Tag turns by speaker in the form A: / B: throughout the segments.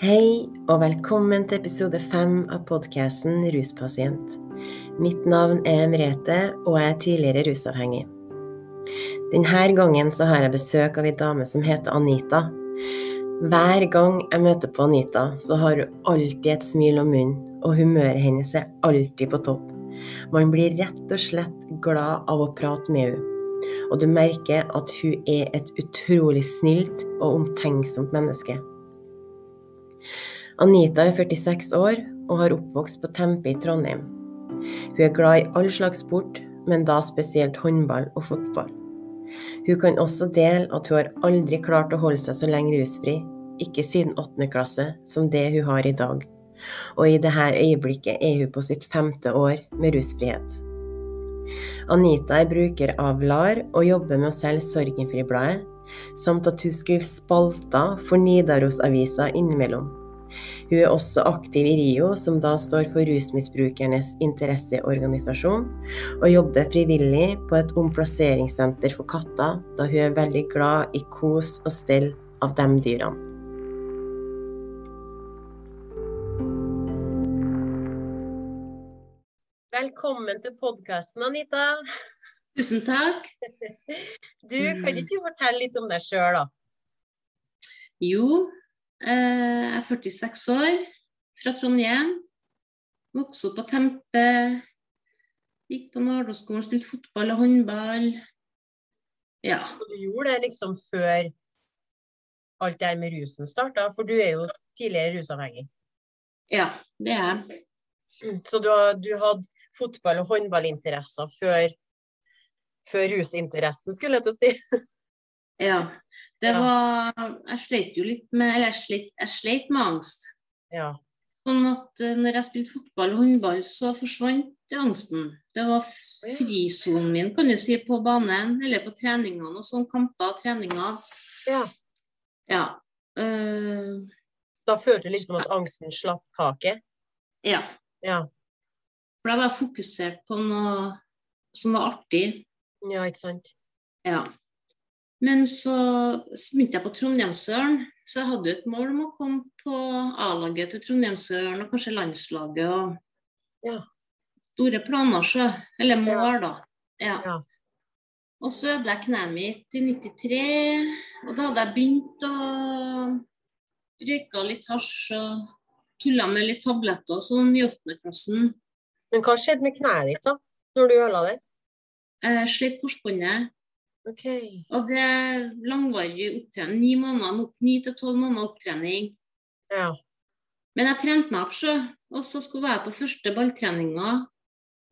A: Hei og velkommen til episode fem av podkasten Ruspasient. Mitt navn er Merete, og jeg er tidligere rusavhengig. Denne gangen så har jeg besøk av ei dame som heter Anita. Hver gang jeg møter på Anita, så har hun alltid et smil om munnen, og humøret hennes er alltid på topp. Man blir rett og slett glad av å prate med henne. Og du merker at hun er et utrolig snilt og omtenksomt menneske. Anita er 46 år og har oppvokst på Tempe i Trondheim. Hun er glad i all slags sport, men da spesielt håndball og fotball. Hun kan også dele at hun har aldri klart å holde seg så lenge rusfri, ikke siden 8. klasse, som det hun har i dag. Og i dette øyeblikket er hun på sitt femte år med rusfrihet. Anita er bruker av LAR og jobber med å selge Sorgenfribladet, samt at hun skriver spalter for Nidarosavisa innimellom. Hun er også aktiv i RIO, som da står for Rusmisbrukernes interesseorganisasjon, og jobber frivillig på et omplasseringssenter for katter, da hun er veldig glad i kos og stell av de dyrene. Velkommen til podkasten, Anita.
B: Tusen takk.
A: Du, kan ikke du fortelle litt om deg sjøl, da?
B: Jo, eh, jeg er 46 år, fra Trondheim. Vokste opp på Tempe. Gikk på Nardoskolen, spilte fotball og håndball. Ja.
A: Og du gjorde det liksom før alt det her med rusen starta, for du er jo tidligere rusavhengig.
B: ja, det er jeg.
A: Så du, har- du hadde fotball- og håndballinteresser før, før rusinteressen, skulle jeg til å si.
B: Ja. Det
A: Ja.
B: var Jeg sleit jo litt med Eller jeg sleit, jeg sleit med angst.
A: Ja.
B: Sånn at eh, når jeg spilte fotball og håndball, så forsvant angsten. Det var
A: Å ja.
B: f- frisonen min, kan du si, på banen eller på treningene og sånn kamper og treninger.
A: Ja.
B: Ja. Eh,
A: Da følte du liksom at angsten slapp taket.
B: ja.
A: Ja.
B: For da var jeg fokusert på noe som var artig.
A: Ja, ikke sant.
B: Ja. Men så så begynte jeg på Trondheimsøren, så jeg hadde jo et mål om å komme på A-laget til Trondheimsøren og kanskje landslaget og
A: Ja.
B: store planer, så. Eller mål, da. Ja.
A: Ja.
B: Og så ødela jeg kneet mitt i 93, og da hadde jeg begynt å røyke litt hasj og tulla med litt tabletter og sånn i åttende klassen.
A: Men hva skjedde med kneet ditt da, når du øla det?
B: Eh, Slet korsbåndet.
A: Ok.
B: Og det er langvarig opptrening. Ni måneder, opp, ni til tolv måneder opptrening.
A: Ja.
B: Men jeg trente meg opp, så. Og så skulle jeg være på første balltreninga.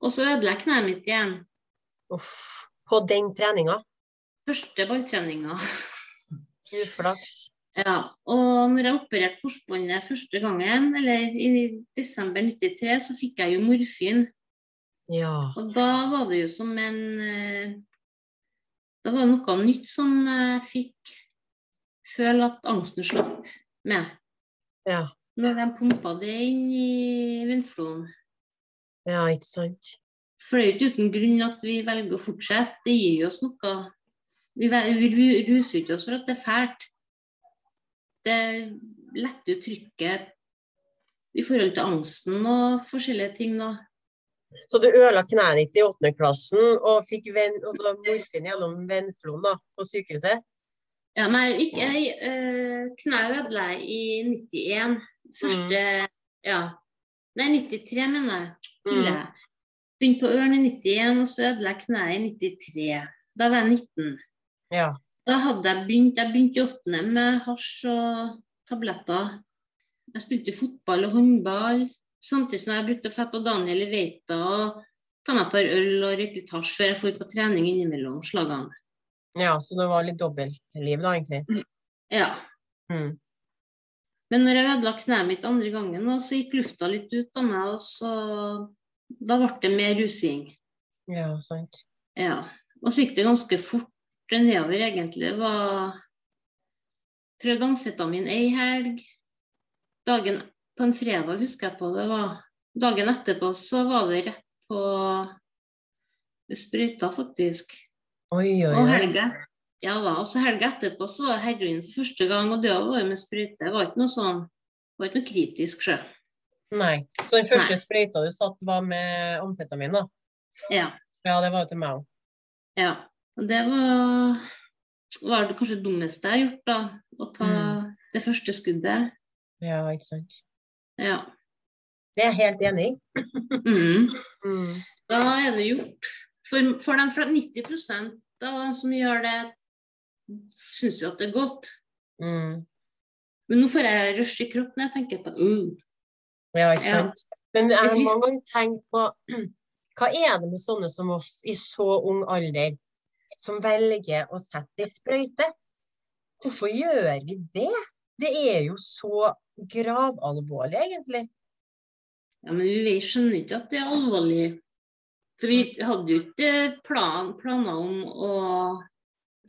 B: Og så ødela jeg kneet mitt igjen.
A: Uff. På den treninga.
B: Første balltreninga.
A: Uflaks.
B: Ja. Og når jeg opererte korsbåndet første gangen, eller i desember 93, så fikk jeg jo morfin.
A: Ja.
B: Og da var det jo som en eh, Da var det noe nytt som jeg fikk føle at angsten slapp med.
A: Ja.
B: Når de pumpa det inn i vindfloen.
A: Ja, ikke sant.
B: For det er jo ikke uten grunn at vi velger å fortsette. Det gir jo oss noe. Vi, vel- vi ru- ruser jo ikke oss for at det er fælt. Det letter jo trykket i forhold til angsten og forskjellige ting, da.
A: Så du øla kneet ditt i åttende klassen og fikk ven, og så morfin gjennom vennfloen da, på sykehuset?
B: Ja, nei, ikke jeg. eh, Kneet ødela jeg i 91. Første Ja. Nei, 93, mener jeg. Tuller
A: Mm.
B: jeg. Begynte på Ørn i 91, og så ødela jeg kneet i 93. Da var jeg 19.
A: Ja.
B: Da hadde jeg begynt Jeg begynte i åttende med hasj og tabletter. Jeg spilte fotball og håndball, samtidig som jeg brukte å dra på Daniel i Veita og ta meg et par øl og røyke litt hasj før jeg dro på trening innimellom slagene.
A: Ja, så det var litt dobbeltliv da, egentlig.
B: Ja.
A: Mm.
B: Men når jeg ødela kneet mitt andre gangen, da, så gikk lufta litt ut av meg, og så Da ble det mer rusing.
A: Ja, sant.
B: Ja. Og så gikk det ganske fort nedover, egentlig. Det Var Prøvde amfetamin ei helg. Dagen på en fredag, husker jeg på det var. Dagen etterpå så var det rett på sprøyta, faktisk.
A: Oi, oi,
B: Og
A: oi.
B: helga ja da, og så helga etterpå så var det heroin for første gang, og det var jo med sprøyte. Det var ikke noe sånn var ikke noe kritisk, sjø.
A: Nei. Så den første
B: Nei.
A: sprøyta du satt, var med amfetamin, da?
B: Ja.
A: Ja, det var jo til meg òg.
B: ja. Og det var, var det kanskje det dummeste jeg har gjort, da. Å ta det første skuddet.
A: Ja, ikke sant.
B: Ja.
A: Det er jeg helt enig i.
B: Mm. Da er det gjort. For, for de fra 90 av dem som gjør det, syns jo at det er godt.
A: Mm.
B: Men nå får jeg rush i kroppen når jeg tenker på uh,
A: Ja, ikke
B: Ja.
A: sant. Men jeg har
B: Hvis-
A: mange ganger tenkt på hva er det med sånne som oss i så ung alder, som velger å sette ei sprøyte? Hvorfor gjør vi det? Det er jo så gravalvorlig, egentlig.
B: Ja, men vi skjønner ikke at det er alvorlig. For vi hadde jo ikke plan, planer om å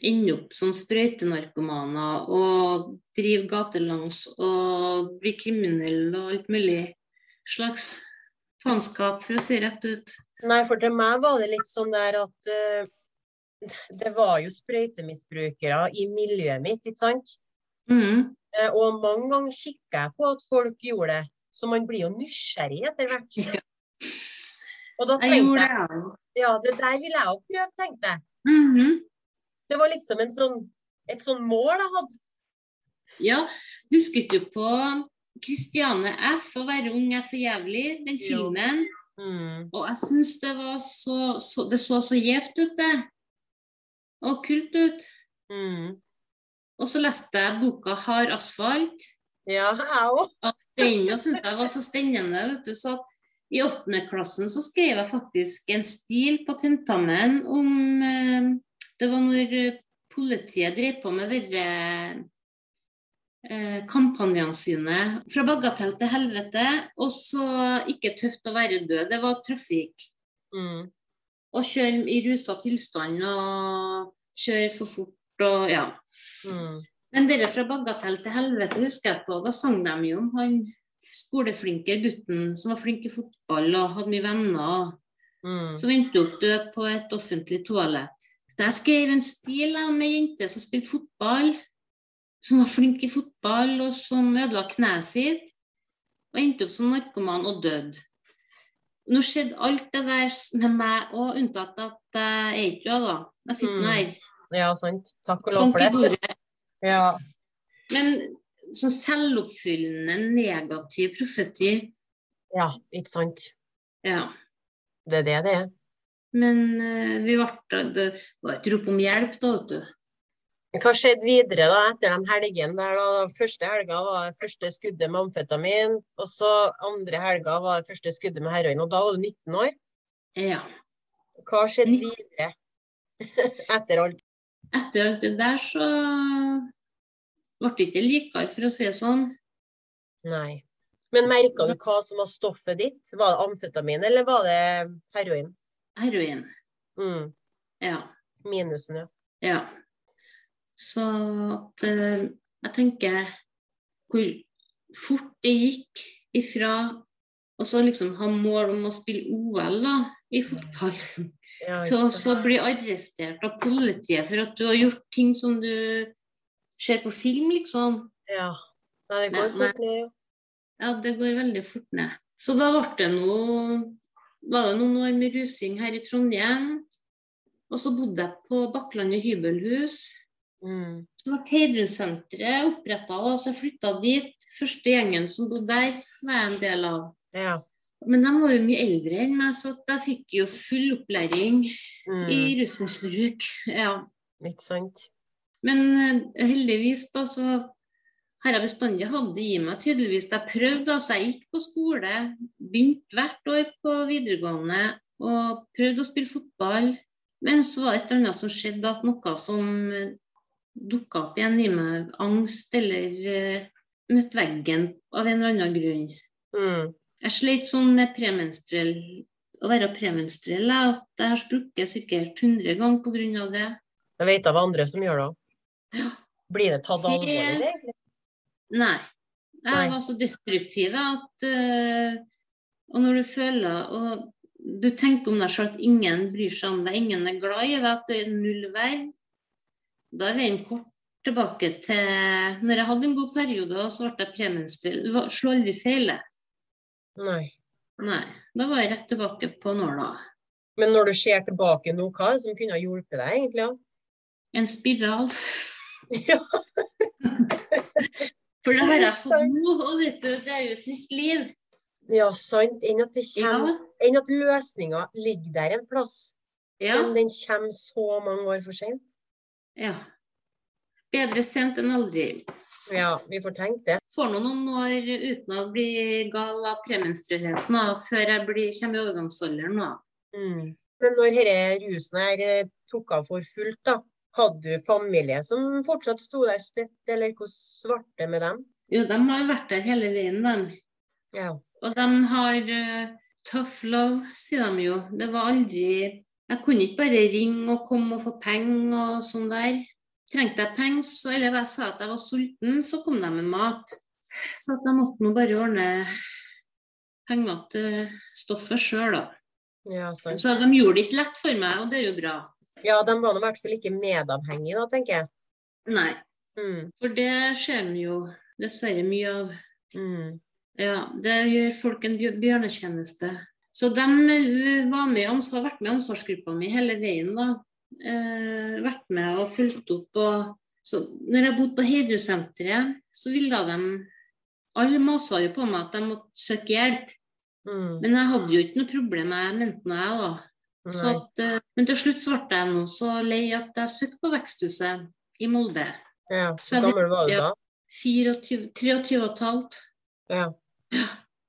B: ende opp som sprøytenarkomaner og drive gatelangs og bli kriminell og alt mulig slags faenskap, for å si rett ut.
A: Nei, for til meg var det litt sånn der at eh, det var jo sprøytemisbrukere i miljøet mitt, ikke sant?
B: Mhm.
A: Eh, Og mange ganger kikket jeg på at folk gjorde det, så man blir jo nysgjerrig etter hvert. Og da
B: Jeg
A: tenkte jeg
B: gjorde det, jeg òg.
A: Ja, det der vil jeg òg prøve, tenkte jeg.
B: Mhm.
A: Det var liksom en sånn, et sånn mål jeg hadde.
B: Ja, husket du på Christiane F. 'Å være ung er for jævlig', den
A: Jo.
B: filmen?
A: Mm,
B: Og jeg syns det var så, så Det så så gjevt ut, det. Og kult ut.
A: mm.
B: Og så leste jeg boka 'Hard asfalt'.
A: Ja, jeg òg.
B: Den og syntes jeg var så spennende. vet du, så at I åttende klassen så skrev jeg faktisk en stil på tentamen om eh, Det var når eh, politiet drev på med disse eh, kampanjene sine. Fra bagatell til helvete, og så ikke tøft å være død. Det var trafikk.
A: Mm,
B: Å kjøre i rusa tilstand og kjøre for fort og ja.
A: mm,
B: Men dere fra Bagatell til helvete husker jeg på, da sang de jo om han skoleflinke gutten som var flink i fotball og hadde mye venner, og
A: mm.
B: som endte opp død på et offentlig toalett. Så jeg skrev en stil da, om ei jente som spilte fotball, som var flink i fotball, og som ødela kneet sitt, og endte opp som narkoman og døde. Nå skjedde alt det der s- med meg òg, unntatt at jeg er ikke død, da. Jeg sitter nå
A: Mm.
B: her.
A: Ja, sant. Takk og lov
B: Bank
A: for
B: i
A: det.
B: bordet.
A: Ja.
B: Men sånn selvoppfyllende, negativ profeti
A: ja, ikke sant.
B: Ja.
A: Det er det det er.
B: Men eh, vi ble Det var et rop om hjelp, da, vet du.
A: Hva skjedde videre da etter de helgene der? da? Første helga var det første skuddet med amfetamin. Og så andre helga var det første skuddet med heroin. Og da var du 19 år.
B: Ja.
A: Hva skjedde
B: Nitt-
A: videre etter alt?
B: Etter alt det der, så ble det ikke likere, for å si det sånn.
A: Nei. Men merka du hva som var stoffet ditt? Var det amfetamin, eller var det heroin?
B: Heroin.
A: Mm.
B: Ja.
A: Minusen, ja.
B: ja. Så at eh, Jeg tenker hvor fort det gikk ifra Og så liksom ha mål om å spille OL, da, i fotball.
A: ja
B: til
A: ikke
B: å
A: sant.
B: så bli arrestert av politiet for at du har gjort ting som du ser på film, liksom.
A: ja. Nei, det går
B: Nei,
A: fort ned, ja.
B: Ja, det går veldig fort ned. Så da ble det noe Var det noen år med rusing her i Trondheim. Og så bodde jeg på Bakklandet hybelhus.
A: Mm.
B: Så ble Heidrun-senteret oppretta, og så jeg flytta dit. Første gjengen som bodde der, var jeg en del av.
A: ja.
B: Men de var jo mye eldre enn meg, så at jeg fikk jo full opplæring i
A: Mm.
B: rusmisbruk. Ja.
A: Ikke sant.
B: Men eh, heldigvis da, så har jeg bestandig hatt det i meg, tydeligvis. Jeg prøvde, altså jeg gikk på skole, begynte hvert år på videregående og prøvde å spille fotball. Men så var det et eller annet som skjedde, at noe som dukka opp igjen i meg, angst eller eh, møtte veggen av en eller annen grunn.
A: Mm.
B: Jeg slet sånn med premenstruell, å være premenstruell, jeg, at jeg har sprukket sikkert 100 ganger pga. det.
A: Jeg vet av andre som gjør det òg.
B: Ja.
A: Blir det tatt
B: Helt-
A: alvorlig, egentlig?
B: Nei. Jeg
A: Nei.
B: var så destruktiv at eh, Og når du føler og du tenker om deg sjøl at ingen bryr seg om deg, ingen er glad i deg, at du er null vei, da er veien kort tilbake til når jeg hadde en god periode, og så ble jeg premenstruell. Det var- Slo aldri feil, det.
A: Nei.
B: Nei. Da var jeg rett tilbake på nåla.
A: Men når du ser tilbake nå, hva er det som kunne ha hjulpet deg, egentlig? da?
B: En spiral.
A: Ja.
B: For det har jeg fått nå, og vet du, det er jo et nytt liv.
A: Ja, sant. Enn at, det kommer,
B: Ja.
A: enn at løsninga ligger der en plass.
B: ja.
A: Men den kommer så mange år for sent.
B: Ja. Bedre sent enn aldri.
A: Ja, vi får tenke det.
B: Får nå noen år uten å bli gal av premenstruellheten da, før jeg blir, kommer i overgangsalderen. Da.
A: Mm. Men når denne rusen her eh, tok av for fullt, da, hadde du familie som fortsatt sto der støtt, eller hvordan ble det med dem?
B: Jo, de har vært der hele veien, dem.
A: Ja.
B: Og de har eh, tough love, sier de jo. Det var aldri Jeg kunne ikke bare ringe og komme og få penger og sånn der. Trengte jeg penger, så- eller jeg sa at jeg var sulten, så kom de med mat. Så at jeg måtte nå bare ordne penger til stoffet sjøl, da.
A: Ja, sant.
B: Så de gjorde det ikke lett for meg, og det er jo bra.
A: ja, de var nå i hvert fall ikke medavhengige, da, tenker jeg.
B: Nei,
A: Mm.
B: for det ser vi jo dessverre mye av.
A: Mm.
B: Ja, det gjør folk en bjør- bjørnetjeneste. Så de eh, var med, i ans- har vært med i ansvarsgruppa mi hele veien, da. Eh, vært med og fulgt opp og Så når jeg bodde på Heidrusenteret, så ville de Alle masa jo på meg at de måtte søke hjelp,
A: Mm.
B: men jeg hadde jo ikke noe problem, jeg mente nå jeg, da. Så
A: Nei.
B: at, eh, men til slutt så ble jeg nå så lei at jeg søkte på Veksthuset i Molde.
A: Ja,
B: så
A: Hvor gammel var du
B: ja.
A: da?
B: 24, 23 og et halvt.
A: Ja.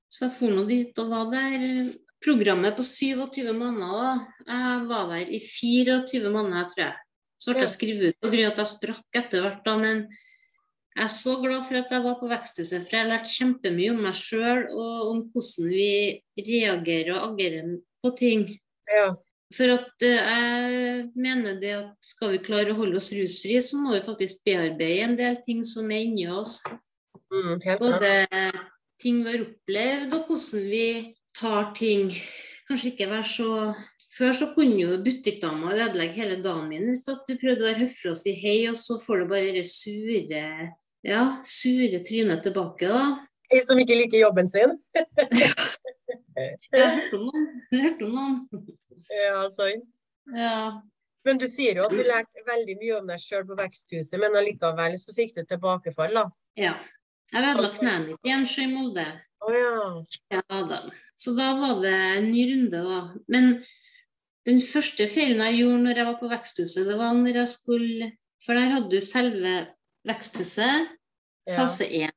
B: Så jeg for nå dit og var der. Programmet på 27 måneder, da. Jeg var der i 24 måneder, tror jeg. Så ble
A: Ja.
B: jeg skrevet ut på grunn av at jeg sprakk etter hvert, da. Men jeg er så glad for at jeg var på Veksthuset, for jeg lærte kjempemye om meg sjøl og om hvordan vi reagerer og agerer på ting.
A: ja.
B: For at eh, jeg mener det at skal vi klare å holde oss rusfri, så må vi faktisk bearbeide en del ting som er inni oss.
A: Mm, helt klart.
B: Både ting vi har opplevd, og hvordan vi tar ting. Kanskje ikke være så Før så kunne jo butikkdama ødelegge hele dagen min hvis at du prøvde å være høflig og si hei, og så får du bare det sure ja, sure trynet tilbake, da.
A: En som ikke liker jobben sin.
B: Jeg hørte om noen. Jeg hørte om noen.
A: Ja, sant.
B: Ja.
A: Men du sier jo at du lærte veldig mye om deg sjøl på Veksthuset, men allikevel så fikk du tilbakefall, da.
B: ja. Jeg ødela kneet mitt igjen, så i Molde.
A: Å ja.
B: Ja da. Så da var det en ny runde, da. Men den første feilen jeg gjorde når jeg var på Veksthuset, det var når jeg skulle For der hadde du selve Veksthuset,
A: Ja.
B: fase 1.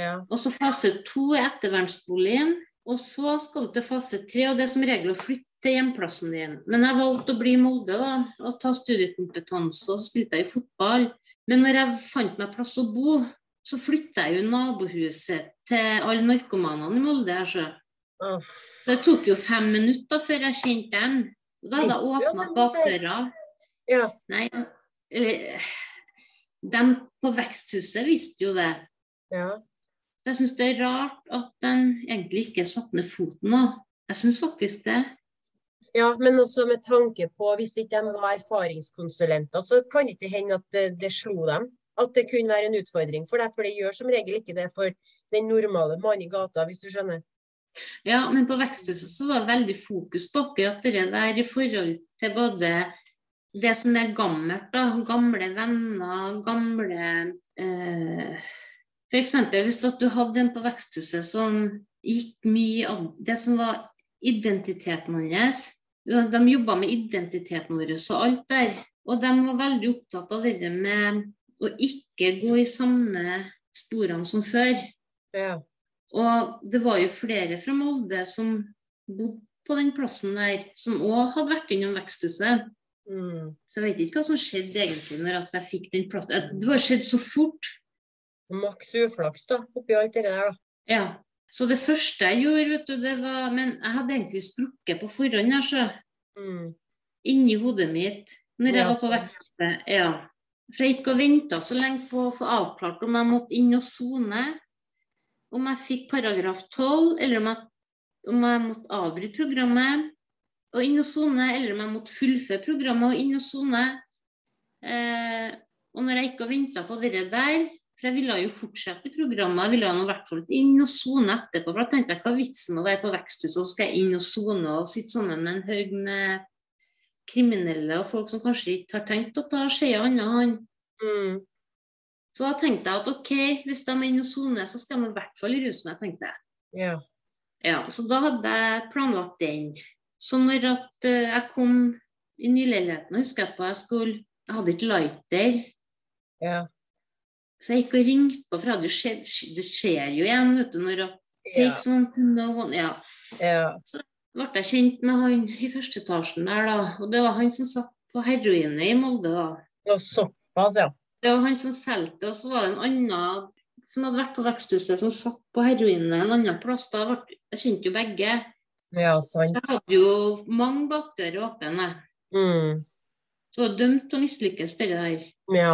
A: ja.
B: Og så fase 2 er ettervernsboligen. Og så skal du til fase 3, og det er som regel å flytte til hjemplassen din. Men jeg valgte å bli i Molde da, og ta studiekompetanse, og så spilte jeg i fotball. Men når jeg fant meg plass å bo, så flytta jeg jo i nabohuset til alle narkomanene i Molde her, så.
A: Åh.
B: Det tok jo fem minutter før jeg kjente dem. Og Da hadde jeg
A: Visste du at
B: åpna
A: de bodde der?
B: bakdøra.
A: ja.
B: Nei, eller De på veksthuset visste jo det.
A: ja.
B: Så Jeg syns det er rart at de egentlig ikke satte ned foten nå. Jeg syns faktisk det.
A: Ja, men også med tanke på hvis ikke de var erfaringskonsulenter, så kan det ikke hende at det, det slo dem. At det kunne være en utfordring for deg, for det gjør som regel ikke det for den normale mannen i gata, hvis du skjønner.
B: Ja, men på veksthuset så var det veldig fokus på akkurat det der i forhold til både det som er gammelt, da. Gamle venner, gamle eh, F.eks. hvis at du hadde en på veksthuset som gikk mye av det som var identiteten hans. Ja, De jobba med identiteten vår og alt der. Og de var veldig opptatt av det med å ikke gå i samme sporene som før.
A: Ja.
B: Og det var jo flere fra Molde som bodde på den plassen der, som òg hadde vært innom veksthuset.
A: Mm.
B: Så jeg vet ikke hva som skjedde egentlig når at jeg fikk den plassen. At Det bare skjedde så fort.
A: Maks uflaks, da, oppi alt det der, da.
B: Ja. Så det første jeg gjorde, vet du, det var Men jeg hadde egentlig sprukket på forhånd, altså.
A: Mm.
B: Inni hodet mitt når jeg
A: Ja,
B: var på
A: sånn.
B: veksthuset. Ja. For jeg gikk og venta så lenge på å få avklart om jeg måtte inn og sone. Om jeg fikk paragraf 12, eller om jeg, om jeg måtte avbryte programmet og inn og sone, eller om jeg måtte fullføre programmet og inn og sone. Eh, Og når jeg gikk og venta på det der For jeg ville jo fortsette programmet, jeg ville jo i hvert fall ikke inn og sone etterpå. For jeg tenkte hva er vitsen med å være på veksthuset, og så skal jeg inn og sone og sitte sammen med en haug med kriminelle og folk som kanskje ikke har tenkt å ta skjea annet han.
A: Mm.
B: Så da tenkte jeg at ok, hvis de er inne og soner, så skal de i hvert fall ruse meg, tenkte jeg.
A: Ja.
B: Ja, Så da hadde jeg planlagt den. Så når at eh, jeg kom i nyleiligheten, husker jeg på jeg skulle Jeg hadde ikke lighter.
A: Ja.
B: Så jeg gikk og ringte på, for jeg hadde jo skje- det skjer jo igjen, vet du, når at sånn,
A: Ja.
B: takes one, no one, ja.
A: ja.
B: ble jeg kjent med han i første etasjen der, da. Og det var han som satt på heroinet i Molde, da.
A: Det var såpass, ja.
B: Det var han som solgte, og så var det en annen som hadde vært på veksthuset, som satt på heroinen en annen plass. Da ble, jeg kjente jo begge.
A: Ja, sant.
B: Så jeg hadde jo mange bakdører åpne. jeg.
A: Mm.
B: Så jeg var dømt til å mislykkes, det der.
A: Ja.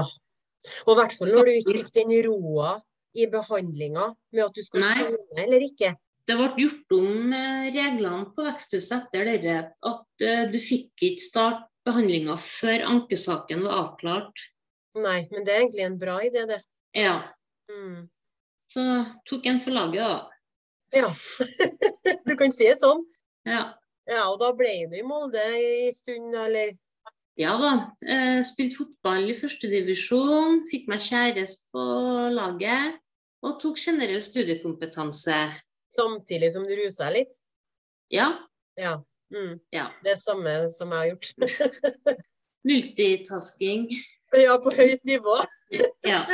A: Og i hvert fall når du ikke fikk den roa i behandlinga med at du skal
B: Nei.
A: sone eller ikke.
B: Det ble gjort om eh, reglene på veksthuset etter det der, at eh, du fikk ikke starte behandlinga før ankesaken var avklart.
A: Nei, men det er egentlig en bra idé, det.
B: Ja.
A: Mm.
B: Så tok en for laget, da.
A: Ja. du kan si det sånn.
B: Ja.
A: Ja, og da ble du i Molde i stund, eller
B: Ja da. eh, Spilte fotball i førstedivisjon, fikk meg kjæreste på laget og tok generell studiekompetanse.
A: samtidig som du rusa deg litt.
B: Ja,
A: Ja. Mm.
B: Ja.
A: Det er samme som jeg har gjort.
B: multitasking.
A: ja, på høyt nivå.
B: Ja.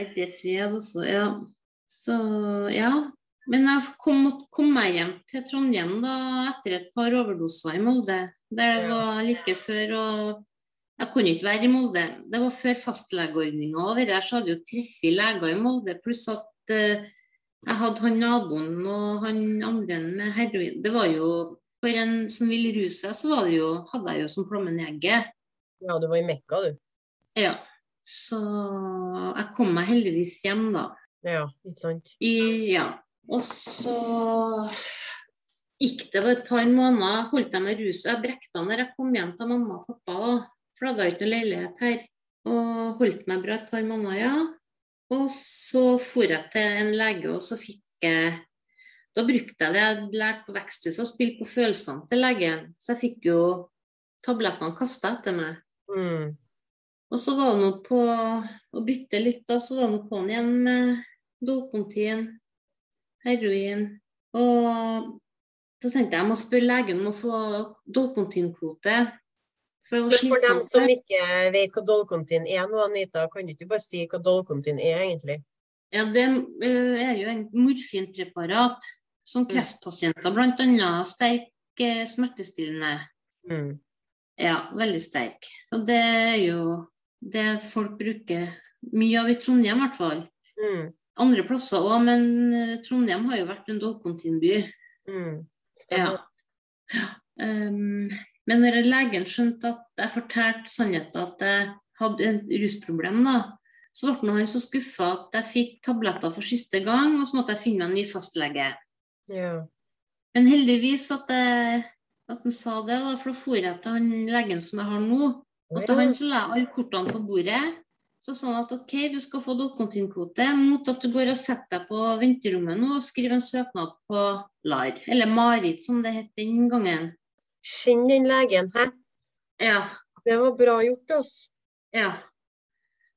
B: Etter fred også, ja. Så ja. Men jeg kom, kom meg hjem til Trondheim da etter et par overdoser i Molde. Der
A: Ja.
B: det var like før og Jeg kunne ikke være i Molde. Det var før fastlegeordninga og det der, så hadde jeg jo treffet leger i Molde. Pluss at eh, jeg hadde han naboen og han andre med heroin. Det var jo For en som ville ruse seg, så var det jo, hadde jeg jo som plommen i egget.
A: Ja, du var i Mekka, du.
B: Ja. Så jeg kom meg heldigvis hjem, da.
A: Ja, ikke sant.
B: I, ja. Og så gikk det bare et par måneder, holdt jeg med ruset. Jeg brekte meg når jeg kom hjem til mamma og pappa, da. for da var det ikke noe leilighet her. Og holdt meg bra et par måneder, ja. Og så for jeg til en lege, og så fikk jeg Da brukte jeg det jeg hadde lært på veksthuset, å spille på følelsene til legen. Så jeg fikk jo tablettene kasta etter meg.
A: Mm.
B: Og så var han oppe på å bytte litt, da, så var han på han igjen med dopentin, heroin. Og så tenkte jeg jeg må spørre legen om å få dopentinkvote. For det var
A: Men for dem
B: slitsomt.
A: som ikke vet hva Dolcontin er nå, Anita, kan du ikke bare si hva Dolcontin er, egentlig?
B: Ja, det eh, er jo en morfinpreparat som
A: Mm.
B: kreftpasienter bl.a. sterk eh, smertestillende.
A: Mm.
B: Ja, veldig sterk. Og det er jo det folk bruker mye av i Trondheim, i hvert fall.
A: Mm.
B: andre plasser òg, men eh, Trondheim har jo vært en dolkontinby.
A: Mm.
B: Ja.
A: Stemmer.
B: Um, men når legen skjønte at jeg fortalte sannheten at jeg hadde et rusproblem, da, så ble nå han så skuffa at jeg fikk tabletter for siste gang, og så måtte jeg finne meg en ny fastlege.
A: Ja.
B: Men heldigvis at, jeg, at han sa det, da, for da for jeg til han legen som jeg har nå. Og til han så la jeg alle kortene på bordet. Så sa han at ok, du skal få dokontinkvote mot at du går og setter deg på venterommet nå og skriver en søknad på LAR, eller Marit som det het den gangen.
A: Kjenn den legen, hæ?
B: Ja,
A: Det var bra gjort, altså.
B: ja.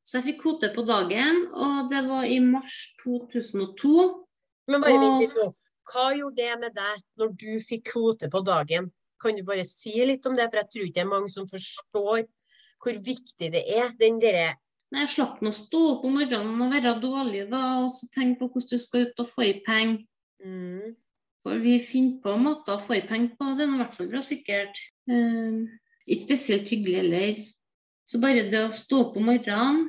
B: Så jeg fikk kvote på dagen, og det var i mars 2002.
A: Men bare
B: Og-
A: vent litt nå. Hva gjorde det med deg når du fikk kvote på dagen? Kan du bare si litt om det, for jeg tror ikke det er mange som forstår hvor viktig det er. Den derre
B: Nei, Jeg slapp nå å stå opp om morgenen og være dårlig da, og så tenke på hvordan du skal ut og få i penger.
A: mm,
B: For vi finner på måter å få i penger på, det er nå i hvert fall bra sikkert. Eh, ikke spesielt hyggelig heller. Så bare det å stå opp om morgenen,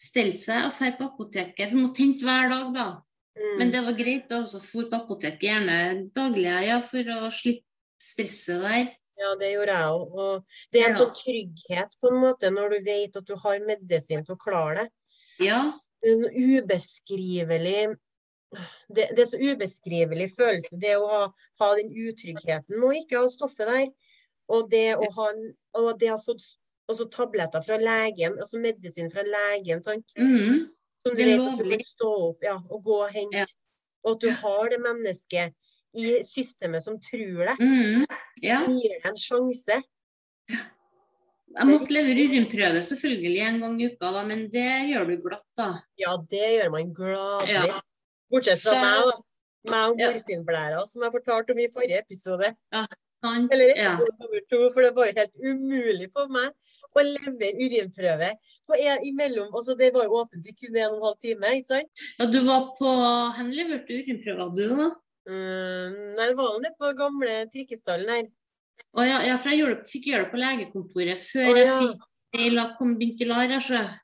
B: stelle seg og dra på apoteket Vi må tenke hver dag, da.
A: mm,
B: Men det var greit å også dra på apoteket, gjerne daglig, ja, for å slippe stresset der.
A: Ja, det gjorde jeg òg. Og det er en
B: Ja.
A: sånn trygghet på en måte når du vet at du har medisin til å klare det.
B: Ja,
A: Det er en ubeskrivelig det, det er så ubeskrivelig følelse, det å ha, ha den utryggheten med å ikke ha stoffet der. Og det å, ha, en- og det å ha fått Og så tabletter fra legen, altså medisin fra legen, sant?
B: Mm.
A: som du
B: det er
A: vet at du kan
B: lovlig.
A: stå opp ja, og gå og hente.
B: Ja.
A: Og at du har det mennesket i systemet som tror deg,
B: Mm. Ja.
A: som gir deg en sjanse.
B: Jeg måtte levere urinprøve selvfølgelig en gang i uka, da, men det gjør du glatt, da.
A: Ja, det gjør man gladelig.
B: Ja.
A: Bortsett fra
B: Så-
A: meg, da. Meg og
B: Ja.
A: morfinblæra, som jeg fortalte om i forrige episode.
B: Sant?
A: Eller
B: Ja.
A: episode nummer to, for det var jo helt umulig for meg å levere urinprøve. For jeg, imellom, altså Det var jo åpent i kun en og en halv time, ikke sant?
B: ja, du var på Hvor leverte du urinprøver, du, da?
A: Mm, nei, det var jo nede på gamle trikkestallen her.
B: Å ja, ja, for jeg gjorde, fikk gjøre det på legekontoret før
A: Å, ja.
B: jeg fikk mail av Kombintilar. Altså.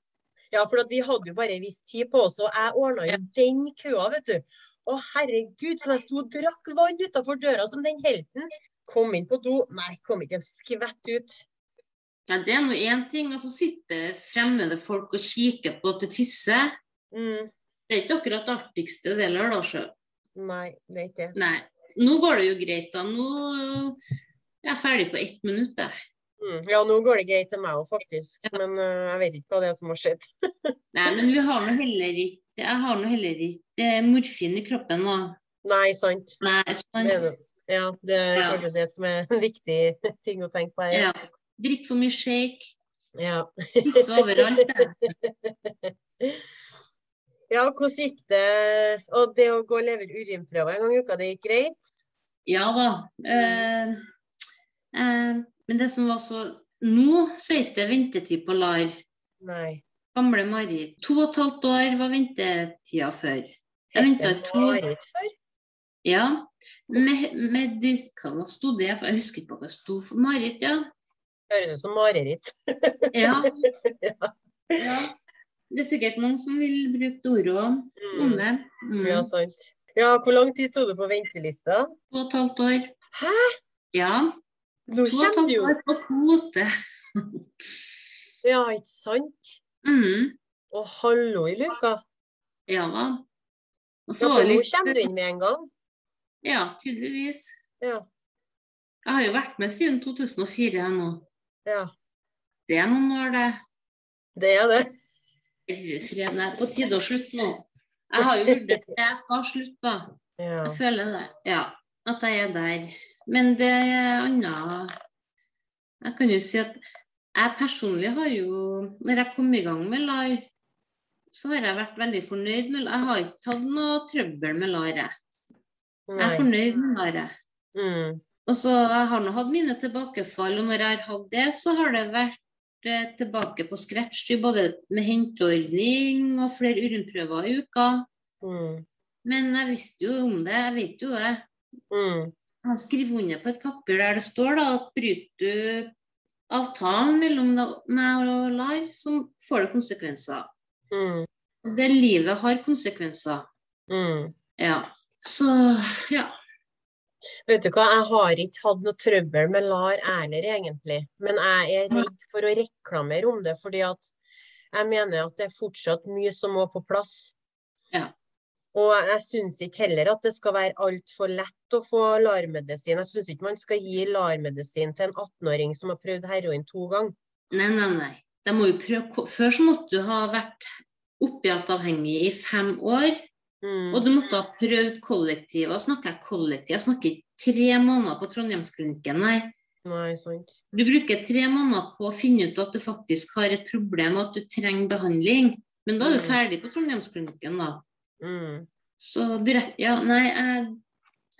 A: Ja, for at vi hadde jo bare en viss tid på oss, og jeg ordna jo den køa, vet du. Å herregud, som jeg sto og drakk vann utafor døra som den helten. Kom inn på do, nei, kom ikke en skvett ut.
B: Ja, det er nå én ting, og så sitter fremmede folk og kikker på at du tisser.
A: Mm,
B: Det er ikke akkurat det artigste det heller, da. Så.
A: nei, det er ikke det.
B: Nei. Nå går det jo greit, da. Nå er jeg ferdig på ett minutt, jeg.
A: Mm, ja, nå går det greit til meg òg, faktisk, men øh, jeg vet ikke hva det er som har skjedd.
B: Nei, men vi har nå heller ikke Jeg har nå heller ikke eh, morfin i kroppen nå.
A: Nei, sant.
B: Nei,
A: Det er,
B: sånn.
A: det. ja, det er
B: Ja.
A: kanskje det som er en viktig ting å tenke på her.
B: Ja. Drikk for mye shake.
A: Ja.
B: Tisse overalt. jeg.
A: ja, hvordan gikk det? Og det å gå og levere urinprøve en gang i uka, det gikk greit?
B: Ja da. Eh, eh, men det som var så Nå så er det ikke ventetid på LAR.
A: Nei.
B: Gamle Marit. To og et halvt år var ventetida før. Jeg venta
A: Hette
B: to
A: Marit før?
B: Ja. Med, medis... Hva var- sto det for? Jeg husker ikke hva det sto for. Marit, ja.
A: Høres ut som mareritt.
B: ja.
A: Ja.
B: ja. Det er sikkert mange som vil bruke det ordet òg. Om det. Mm.
A: Ja, sant. Ja, hvor lang tid sto du på ventelista?
B: To og et halvt år.
A: Hæ?
B: Ja.
A: Nå
B: To og et
A: kommer du
B: halvt
A: jo
B: år på kvote.
A: Ja, ikke sant?
B: Mm.
A: Å, hallo i luka.
B: Ja da. Og
A: Ja,
B: så var
A: for
B: det
A: nå
B: litt-
A: kommer du inn med en gang.
B: Ja, tydeligvis.
A: Ja.
B: Jeg har jo vært med siden 2004 her nå.
A: ja.
B: Det er noen år, det.
A: Det er det.
B: Herre fred, det er på tide å slutte nå. Jeg har jo vurdert det. Jeg skal slutte, da.
A: Ja.
B: Jeg føler det. Ja. At jeg er der. Men det er annet Jeg kan jo si at jeg personlig har jo Når jeg kom i gang med LAR, så har jeg vært veldig fornøyd med Jeg har ikke hatt noe trøbbel med LAR, jeg. Jeg er
A: Nei.
B: fornøyd med LAR, jeg.
A: Mm.
B: Og så jeg har nå hatt mine tilbakefall, og når jeg har hatt det, så har det vært eh, tilbake på scratch, i både med henteordning og flere urinprøver i uka.
A: Mm.
B: Men jeg visste jo om det, jeg vet jo det.
A: Mm.
B: Han skriver under på et papir der det står da, at bryter du avtalen mellom da- meg og LAR, så får det konsekvenser.
A: Mm.
B: Og det livet har konsekvenser.
A: Mm.
B: Ja. Så ja.
A: Vet du hva, jeg har ikke hatt noe trøbbel med LAR heller, egentlig. Men jeg er redd for å reklamere om det, fordi at jeg mener at det er fortsatt mye som må på plass.
B: Ja.
A: Og jeg syns ikke heller at det skal være altfor lett å få LAR-medisin. Jeg syns ikke man skal gi LAR-medisin til en 18-åring som har prøvd heroin to ganger.
B: Nei, nei, nei. De må jo prøve. ko- Før så måtte du ha vært opiatavhengig i fem år,
A: Mm.
B: og du måtte ha prøvd kollektiv. Og snakker jeg kollektiv, jeg snakker ikke tre måneder på Trondheimsklinikken, nei.
A: Nei, sant.
B: Du bruker tre måneder på å finne ut at du faktisk har et problem, og at du trenger behandling. Men da er du
A: Mm.
B: ferdig på Trondheimsklinikken, da.
A: Mm.
B: Så du rett... Ja, nei, jeg,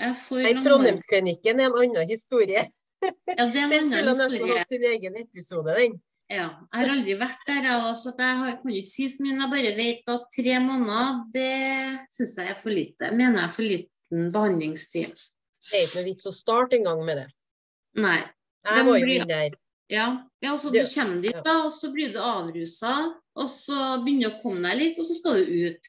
B: jeg får
A: Nei, Trondheimsklinikken er en annen historie.
B: Ja, det er en
A: Den skulle
B: annen
A: nesten
B: historie.
A: hatt sin egen episode, den.
B: Ja, jeg har aldri vært der, jeg også, at jeg har- kan ikke si så mye. men Jeg bare vet at tre måneder, det syns jeg er for lite. Jeg mener jeg er for liten behandlingstid.
A: Det er ikke noe vits å starte engang med det.
B: Nei.
A: Jeg
B: De
A: var jo
B: blir-
A: inne der.
B: Ja, ja altså du
A: Det-
B: kommer dit,
A: ja.
B: da, og så blir du avrusa, og så begynner du å komme deg litt, og så skal du ut.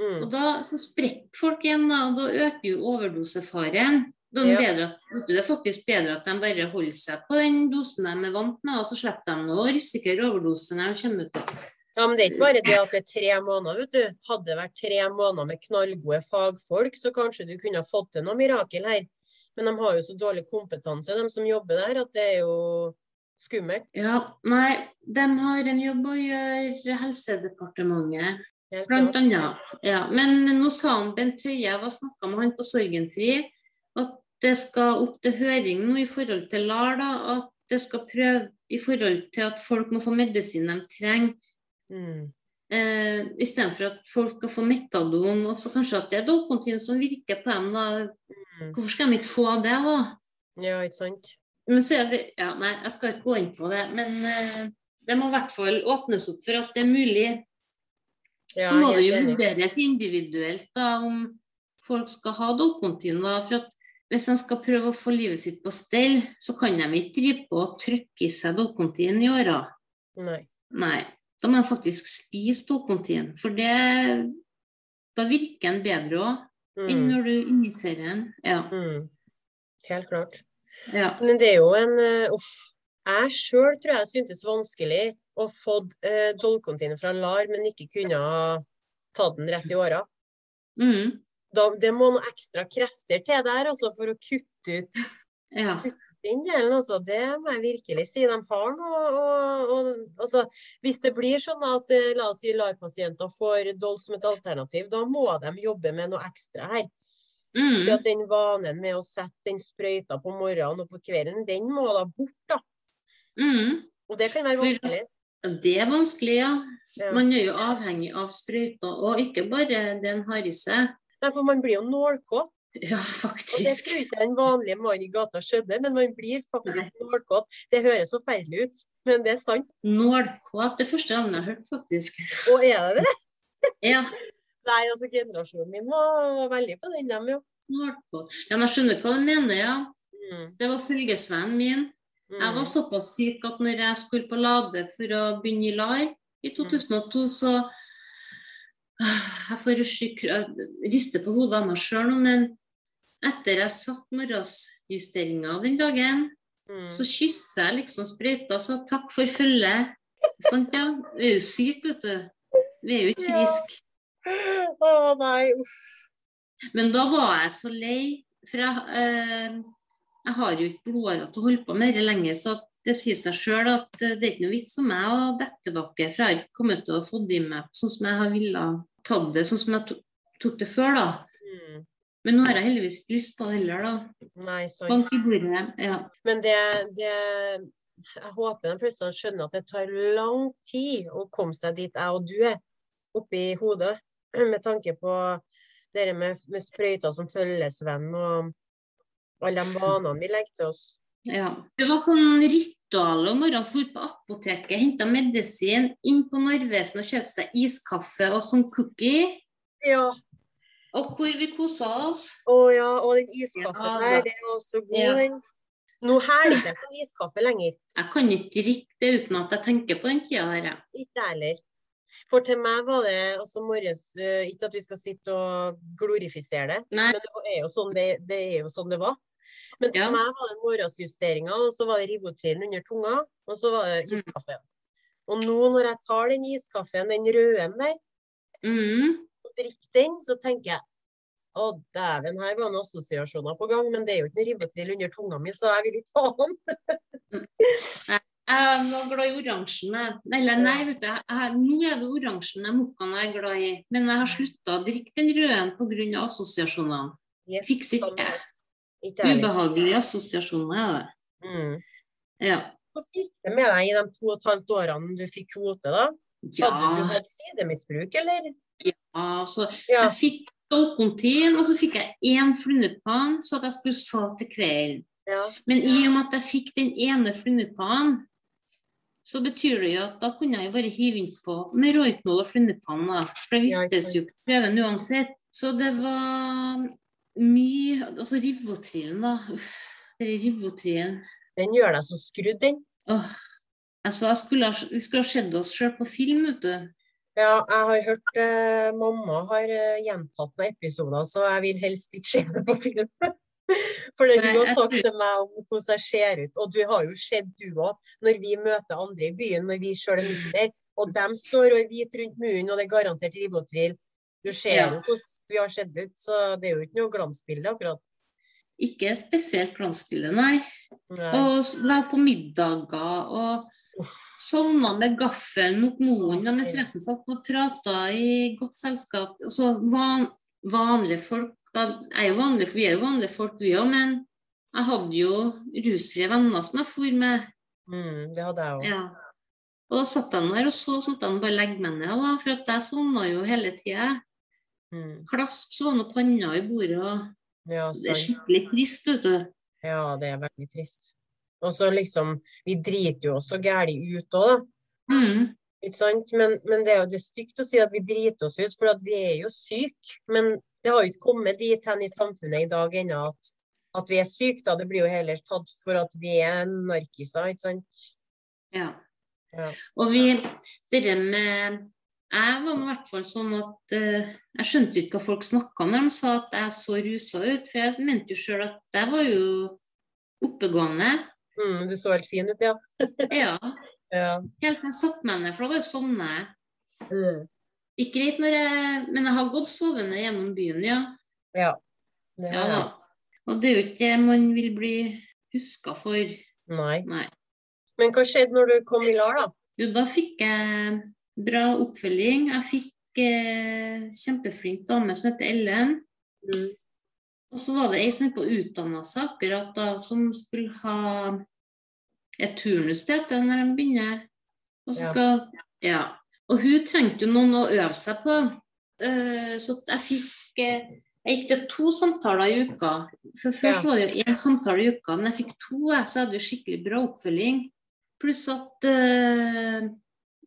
A: Mm.
B: Og da så sprekker folk igjen, da, og da øker jo overdosefaren. Da er det
A: Ja.
B: bedre at- det er faktisk bedre at de bare holder seg på den dosen de er vant med, og så slipper de nå å risikere overdose når de kommer ut. da.
A: Ja, men det er ikke bare det at det er tre måneder, vet du. Hadde det vært tre måneder med knallgode fagfolk, så kanskje du kunne ha fått til noe mirakel her. Men de har jo så dårlig kompetanse, de som jobber der, at det er jo Skummelt.
B: Ja, nei, de har en jobb å gjøre, Helsedepartementet.
A: helt
B: Blant
A: klart.
B: annet. Ja. Men nå sa han Bent Høie, jeg var snakka med han på Sorgenfri, at det skal opp til høring nå i forhold til LAR, da, at det skal prøve i forhold til at folk må få medisin de trenger.
A: Mm.
B: Eh, Istedenfor at folk skal få metadon, og så kanskje at det er Dolcontin som virker på dem. da. Hvorfor skal de ikke få det, da?
A: Ja, ikke sant?
B: Men så er det, ja, nei, jeg skal ikke gå inn på det, men eh, det må i hvert fall åpnes opp for at det er mulig.
A: Ja,
B: så må det
A: helt
B: jo
A: enig.
B: vurderes individuelt da, om folk skal ha dopkontin. da, for at Hvis de skal prøve å få livet sitt på stell, så kan de ikke drive på og trykke i seg dopkontin i åra.
A: Nei.
B: Nei, da må de faktisk spise dopkontin. For det, da virker den bedre òg enn
A: Mm.
B: når du injiserer den. Ja.
A: Mm. Helt klart.
B: ja.
A: Men det er jo en eh, Uff. Jeg sjøl tror jeg syntes vanskelig å få uh, Dolcontin fra LAR, men ikke kunne ha tatt den rett i åra.
B: Mm,
A: Da, det må noen ekstra krefter til der altså, for å kutte ut altså.
B: ja.
A: altså, sånn eh,
B: Mm,
A: Fordi at den vanen med å sette den sprøyta på morgenen og på kvelden, den må da bort, da.
B: mm.
A: Og det kan være
B: For-
A: vanskelig.
B: Ja, Det er vanskelig, ja.
A: Ja.
B: Man er jo avhengig av sprøyter, og ikke bare det en har i seg.
A: Nei, for man blir jo nålkåt.
B: Ja,
A: Og det tror
B: faktisk.
A: jeg ikke den vanlige mannen i gata skjønner, men man blir faktisk nålkåt. Det høres forferdelig ut, men det er sant.
B: Nålkåt. Det første navnet jeg har hørt, faktisk.
A: Og er det det?
B: Ja,
A: Nei, altså generasjonen min var, var veldig på den, dem jo.
B: nålkåt. Ja, men jeg skjønner hva du mener, ja.
A: Mm.
B: Det var følgesvennen min. Jeg var såpass syk at når jeg skulle på Lade for å begynne i LAR
A: Mm.
B: i 2002, så Jeg får rusjekr- jeg rister på hodet av meg sjøl nå, men etter jeg satt morgensjusteringa den dagen,
A: Mm.
B: Så kysser jeg liksom sprøyta og sa takk for følget. Sant, ja? Vi er jo syke, vet du. Vi er jo ikke
A: Ja.
B: friske.
A: Å nei, uff.
B: Men da var jeg så lei, for jeg, eh, jeg har jo ikke blodårer til å holde på med dette lenger, så det sier seg sjøl at eh, det er ikke noe vits for meg å dette tilbake, for jeg har ikke kommet til å få det i meg sånn som jeg har ville tatt det, sånn som jeg to- tok det før, da.
A: Mm.
B: Men nå har jeg heldigvis ikke lyst på det heller, da.
A: Nei, sant.
B: Bank i bordet. Ja.
A: Men det, det Jeg håper de fleste skjønner at det tar lang tid å komme seg dit jeg og du er, oppi hodet. Med tanke på det der med, med sprøyter som følgesvenn og alle de vanene vi legger til oss.
B: Ja. Det var sånn ritual om morgenen. For på apoteket, henta medisin, inn på Narvesen og kjøpte seg iskaffe og sånn cookie.
A: Ja.
B: Og hvor vi kosa oss.
A: Å ja, og den iskaffen
B: Ja,
A: der,
B: da.
A: det er også god,
B: Ja.
A: den. Nå hæler ikke jeg sånn iskaffe lenger.
B: Jeg kan ikke drikke det uten at jeg tenker på den tida her. jeg.
A: Ikke jeg heller. For til meg var det også morges eh, Ikke at vi skal sitte og glorifisere det,
B: Nei.
A: men det er jo sånn det, det, er jo sånn det var. Men til
B: Ja.
A: meg var det morgensjusteringa, og så var det Rivotrilen under tunga, og så var
B: Mm.
A: det iskaffen. Og nå når jeg tar den iskaffen, den røde der,
B: Mm.
A: og drikker den, så tenker jeg å, dæven, her var noen assosiasjoner på gang, men det er jo ikke noe ribbetrill under tunga mi, så jeg vil ikke ha den.
B: Jeg var glad i oransjen. jeg. Eller nei, vet du. Jeg, jeg, nå er det oransjen jeg mokkaen jeg er glad i. Men jeg har slutta å drikke den røde pga. assosiasjonene.
A: Yes,
B: Fikser
A: sånn
B: ikke
A: er
B: jeg.
A: Ikke jeg heller.
B: Ubehagelige assosiasjoner er det.
A: Mm.
B: Ja.
A: Hva gikk det med deg i de to og et halvt årene du fikk kvote, da? Hadde du
B: ja.
A: hatt sidemisbruk, eller?
B: Altså,
A: Ja.
B: Jeg fikk Dolcontin, og så fikk jeg én flunnepann, så at jeg skulle sove til kvelden.
A: ja.
B: Men i og med at jeg fikk den ene flunnepannen, så betyr det jo at da kunne jeg jo bare hive innpå med roikmål og flunnepann, da. For det
A: Ja, ikke
B: vistes jo på prøven uansett. Så det var mye Altså Rivotrilen, da. Uff, den Rivotrilen.
A: Den gjør deg så skrudd, den.
B: Åh. Altså, jeg skulle, ha- vi skulle ha sett oss sjøl på film, vet du.
A: Ja, jeg har hørt eh, mamma har eh, gjentatt noen episoder, så jeg vil helst ikke se det på film. For
B: Nei,
A: hun har
B: jeg
A: sagt
B: tror-
A: til meg om hvordan jeg ser ut, og du har jo sett du òg, når vi møter andre i byen, når vi sjøl er midt der, og de står og er hvit rundt munnen, og det er garantert ribotril. Du ser
B: Ja.
A: jo hvordan vi har sett ut, så det er jo ikke noe glansbilde, akkurat.
B: Ikke spesielt glansbilde, nei.
A: Nei.
B: Og s- var på middager og sovna med gaffelen mot moren og mens resten satt og prata i godt selskap. Og så van, vanlige folk da, jeg er jo vanlig, Vi er jo vanlige folk, vi òg, men jeg hadde jo rusfrie venner som jeg for med.
A: Mm, det hadde jeg òg.
B: Ja. Og da satt jeg der og så sånn at de bare legge meg ned, da, for at jeg sovna jo hele tida.
A: Mm.
B: Klask sovna panna i bordet, og
A: Ja,
B: det er
A: sant.
B: skikkelig trist, vet du.
A: ja, det er veldig trist. Og så liksom Vi driter jo også gæli ut òg, da.
B: Mm.
A: Ikke sant? Men, men det er jo det er stygt å si at vi driter oss ut, for at vi er jo syke. Men det har jo ikke kommet dit hen i samfunnet i dag ennå at, at vi er syke. Da. Det blir jo heller tatt for at vi er narkiser, ikke sant?
B: Ja.
A: Ja.
B: Og vi Det der med Jeg var nå i hvert fall sånn at eh, jeg skjønte jo ikke hva folk snakka om når de sa at jeg så rusa ut, for jeg mente jo sjøl at jeg var jo oppegående.
A: Mm, du så helt fin ut, ja.
B: Ja.
A: ja.
B: Helt til jeg satte meg ned, for da var jo sovna jeg.
A: Mm.
B: Gikk greit når jeg Men jeg har gått sovende gjennom byen, ja.
A: ja. Det
B: ja
A: har
B: da.
A: jeg.
B: Og det er jo ikke det man vil bli huska for.
A: Nei.
B: Nei.
A: Men hva skjedde når du kom i LAR, da?
B: Jo, da fikk jeg bra oppfølging. Jeg fikk eh, kjempeflink dame som heter Ellen.
A: Mm.
B: Og så var det ei som holdt på å utdanne seg akkurat da, som skulle ha et turnus til etter når de begynner. Og, så
A: Ja.
B: skal, ja. og hun trengte jo noen å øve seg på. Eh, Så at jeg fikk eh, Jeg gikk til to samtaler i uka. For
A: Ja.
B: før så var det jo én samtale i uka, men jeg fikk to, jeg, så jeg hadde jo skikkelig bra oppfølging. Pluss at eh,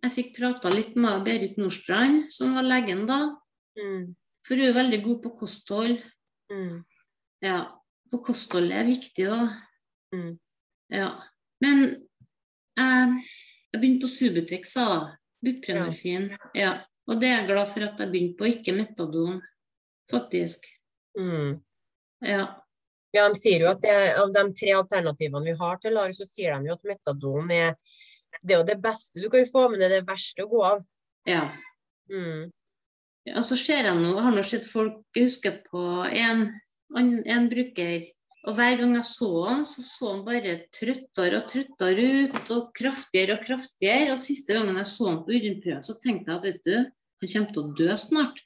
B: jeg fikk prata litt med Berit Nordstrand, som var legen da.
A: Mm.
B: For hun er veldig god på kosthold.
A: Mm.
B: Ja, for kostholdet er viktig, da.
A: Mm.
B: Ja. Men eh, jeg begynte på Subutex, da. Buprenorfin. Ja. Og det er jeg glad for at jeg begynte på, ikke metadon, faktisk.
A: Mm.
B: Ja.
A: Ja, de sier jo at det, av de tre alternativene vi har til LAR, så sier de jo at metadon er det er jo det beste du kan få, men det er det verste å gå av.
B: ja.
A: Mm.
B: Ja, så ser jeg nå, jeg har nå sett folk huske på en, an- en bruker. Og hver gang jeg så han, så så han bare trøttere og trøttere ut, og kraftigere og kraftigere. Og siste gangen jeg så han på urinprøven, så tenkte jeg at vet du, han kommer til å dø snart.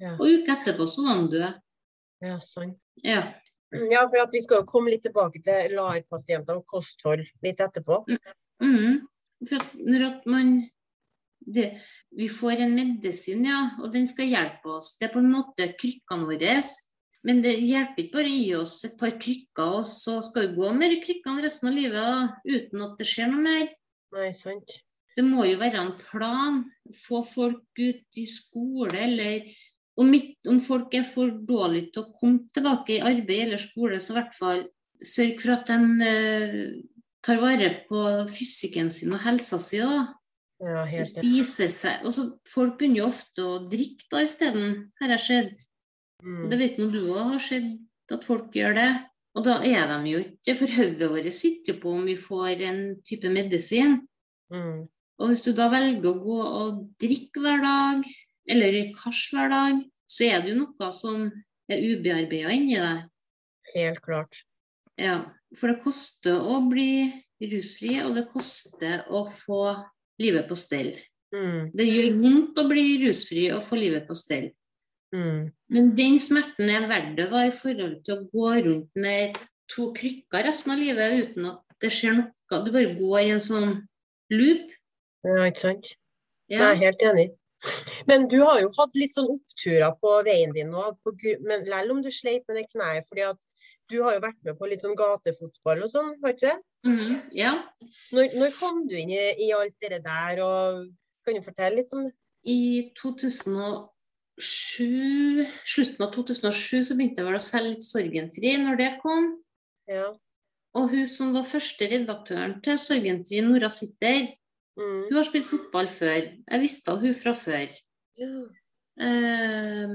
A: Ja.
B: Og uka etterpå så var han død.
A: Ja, sånn.
B: Ja.
A: Ja, for at vi skal jo komme litt tilbake til LAR-pasienter og kosthold litt etterpå.
B: Mhm. For at når at man det, Vi får en medisin, ja, og den skal hjelpe oss. Det er på en måte krykkene våre. Men det hjelper ikke bare å gi oss et par krykker, og så skal vi gå med de krykkene resten av livet da, uten at det skjer noe mer.
A: Nei, sant.
B: Det må jo være en plan. Få folk ut i skole, eller om, ikke- om folk er for dårlige til å komme tilbake i arbeid eller skole, så i hvert fall sørg for at de eh, tar vare på fysikken sin og helsa si. da.
A: Ja, helt enig.
B: Spiser seg. Og så folk begynner jo ofte å drikke da isteden, har jeg sett. Det
A: Mm.
B: vet nå du òg har sett at folk gjør det. Og da er de jo ikke For hodet vårt sitter jo på om vi får en type medisin.
A: Mm.
B: Og hvis du da velger å gå og drikke hver dag, eller røyke hasj hver dag, så er det jo noe som er ubearbeida inni deg.
A: Helt klart.
B: Ja, for det koster å bli rusfri, og det koster å få livet på stell.
A: Mm.
B: Det gjør vondt å bli rusfri og få livet på stell.
A: Mm.
B: Men den smerten er verdt det da, i forhold til å gå rundt med to krykker resten av livet uten at det skjer noe. Du bare går i en sånn loop.
A: Ja, ikke sant.
B: Ja.
A: Nei, helt enig. Men du har jo hatt litt sånn oppturer på veien din nå, på, gru- men selv om du sleit med det kneet, fordi at du har jo vært med på litt sånn gatefotball og sånn, har ikke det?
B: Mhm, ja.
A: Når, når kom du inn i, i alt det der, og kan du fortelle litt om det?
B: I 2007, slutten av 2007 så begynte jeg vel å selge Sorgenfri når det kom.
A: Ja.
B: Og hun som var første redaktøren til Sorgenfri, Nora Sitter,
A: Mm.
B: hun har spilt fotball før. Jeg visste hun fra før.
A: Ja.
B: Eh,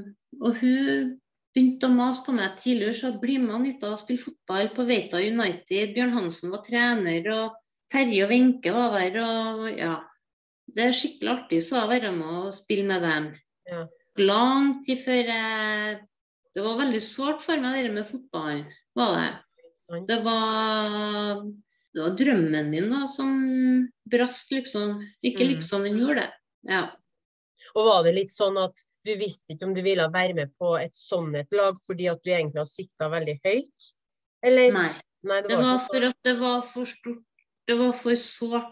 B: og hun begynte å mase på meg tidligere, så bli med Anita og spille fotball på Veita United. Bjørn Hansen var trener, og Terje og Wenche var der, og ja. Det er skikkelig artig så å være med og spille med dem.
A: Ja.
B: Langt tid før jeg Det var veldig sårt for meg, det der med fotballen. var det.
A: Sant.
B: Det var det var drømmen min da, som brast, liksom. Ikke
A: Mm.
B: liksom, den gjorde det. Ja.
A: Og var det litt sånn at du visste ikke om du ville være med på et sånt et lag fordi at du egentlig har sikta veldig høyt? Eller?
B: Nei.
A: Nei,
B: Det var for at det var for stort, det var for sårt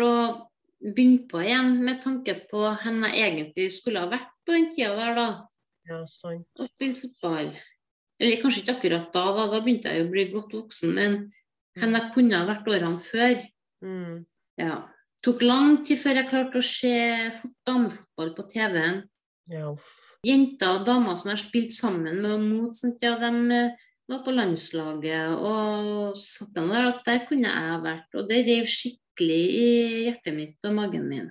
B: å begynne på igjen, med tanke på hvem jeg egentlig skulle ha vært på den tida der, da.
A: Ja, sånn.
B: og spilte fotball. Eller kanskje ikke akkurat da, da, da begynte jeg jo å bli godt voksen, men hen jeg kunne ha vært årene før.
A: Mm.
B: Ja. Tok lang tid før jeg klarte å se fot damefotball på TV-en.
A: Ja, uff.
B: Jenter og damer som jeg spilte sammen med og mot, sånt, ja, de eh, var på landslaget. Og så satt de der at der kunne jeg vært. Og det rev skikkelig i hjertet mitt og magen min.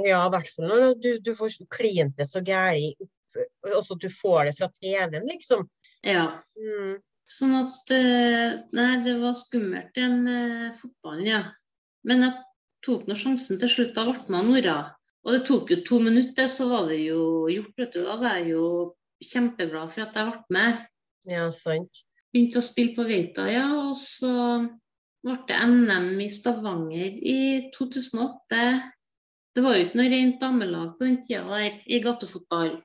A: Ja, i hvert fall når du, du får klinte så gæli opp, også at du får det fra TV-en, liksom.
B: Ja.
A: Mm.
B: Sånn at eh, Nei, det var skummelt det med fotballen, ja. Men jeg tok nå sjansen til slutt. Da ble man Nora. Og det tok jo to minutter, så var det jo gjort, vet du. Da var jeg jo kjempeglad for at jeg ble med.
A: Ja, sant.
B: Begynte å spille på Veita, ja. Og så ble det NM i Stavanger i 2008. Det var jo ikke noe rent damelag på den tida der i gatefotball.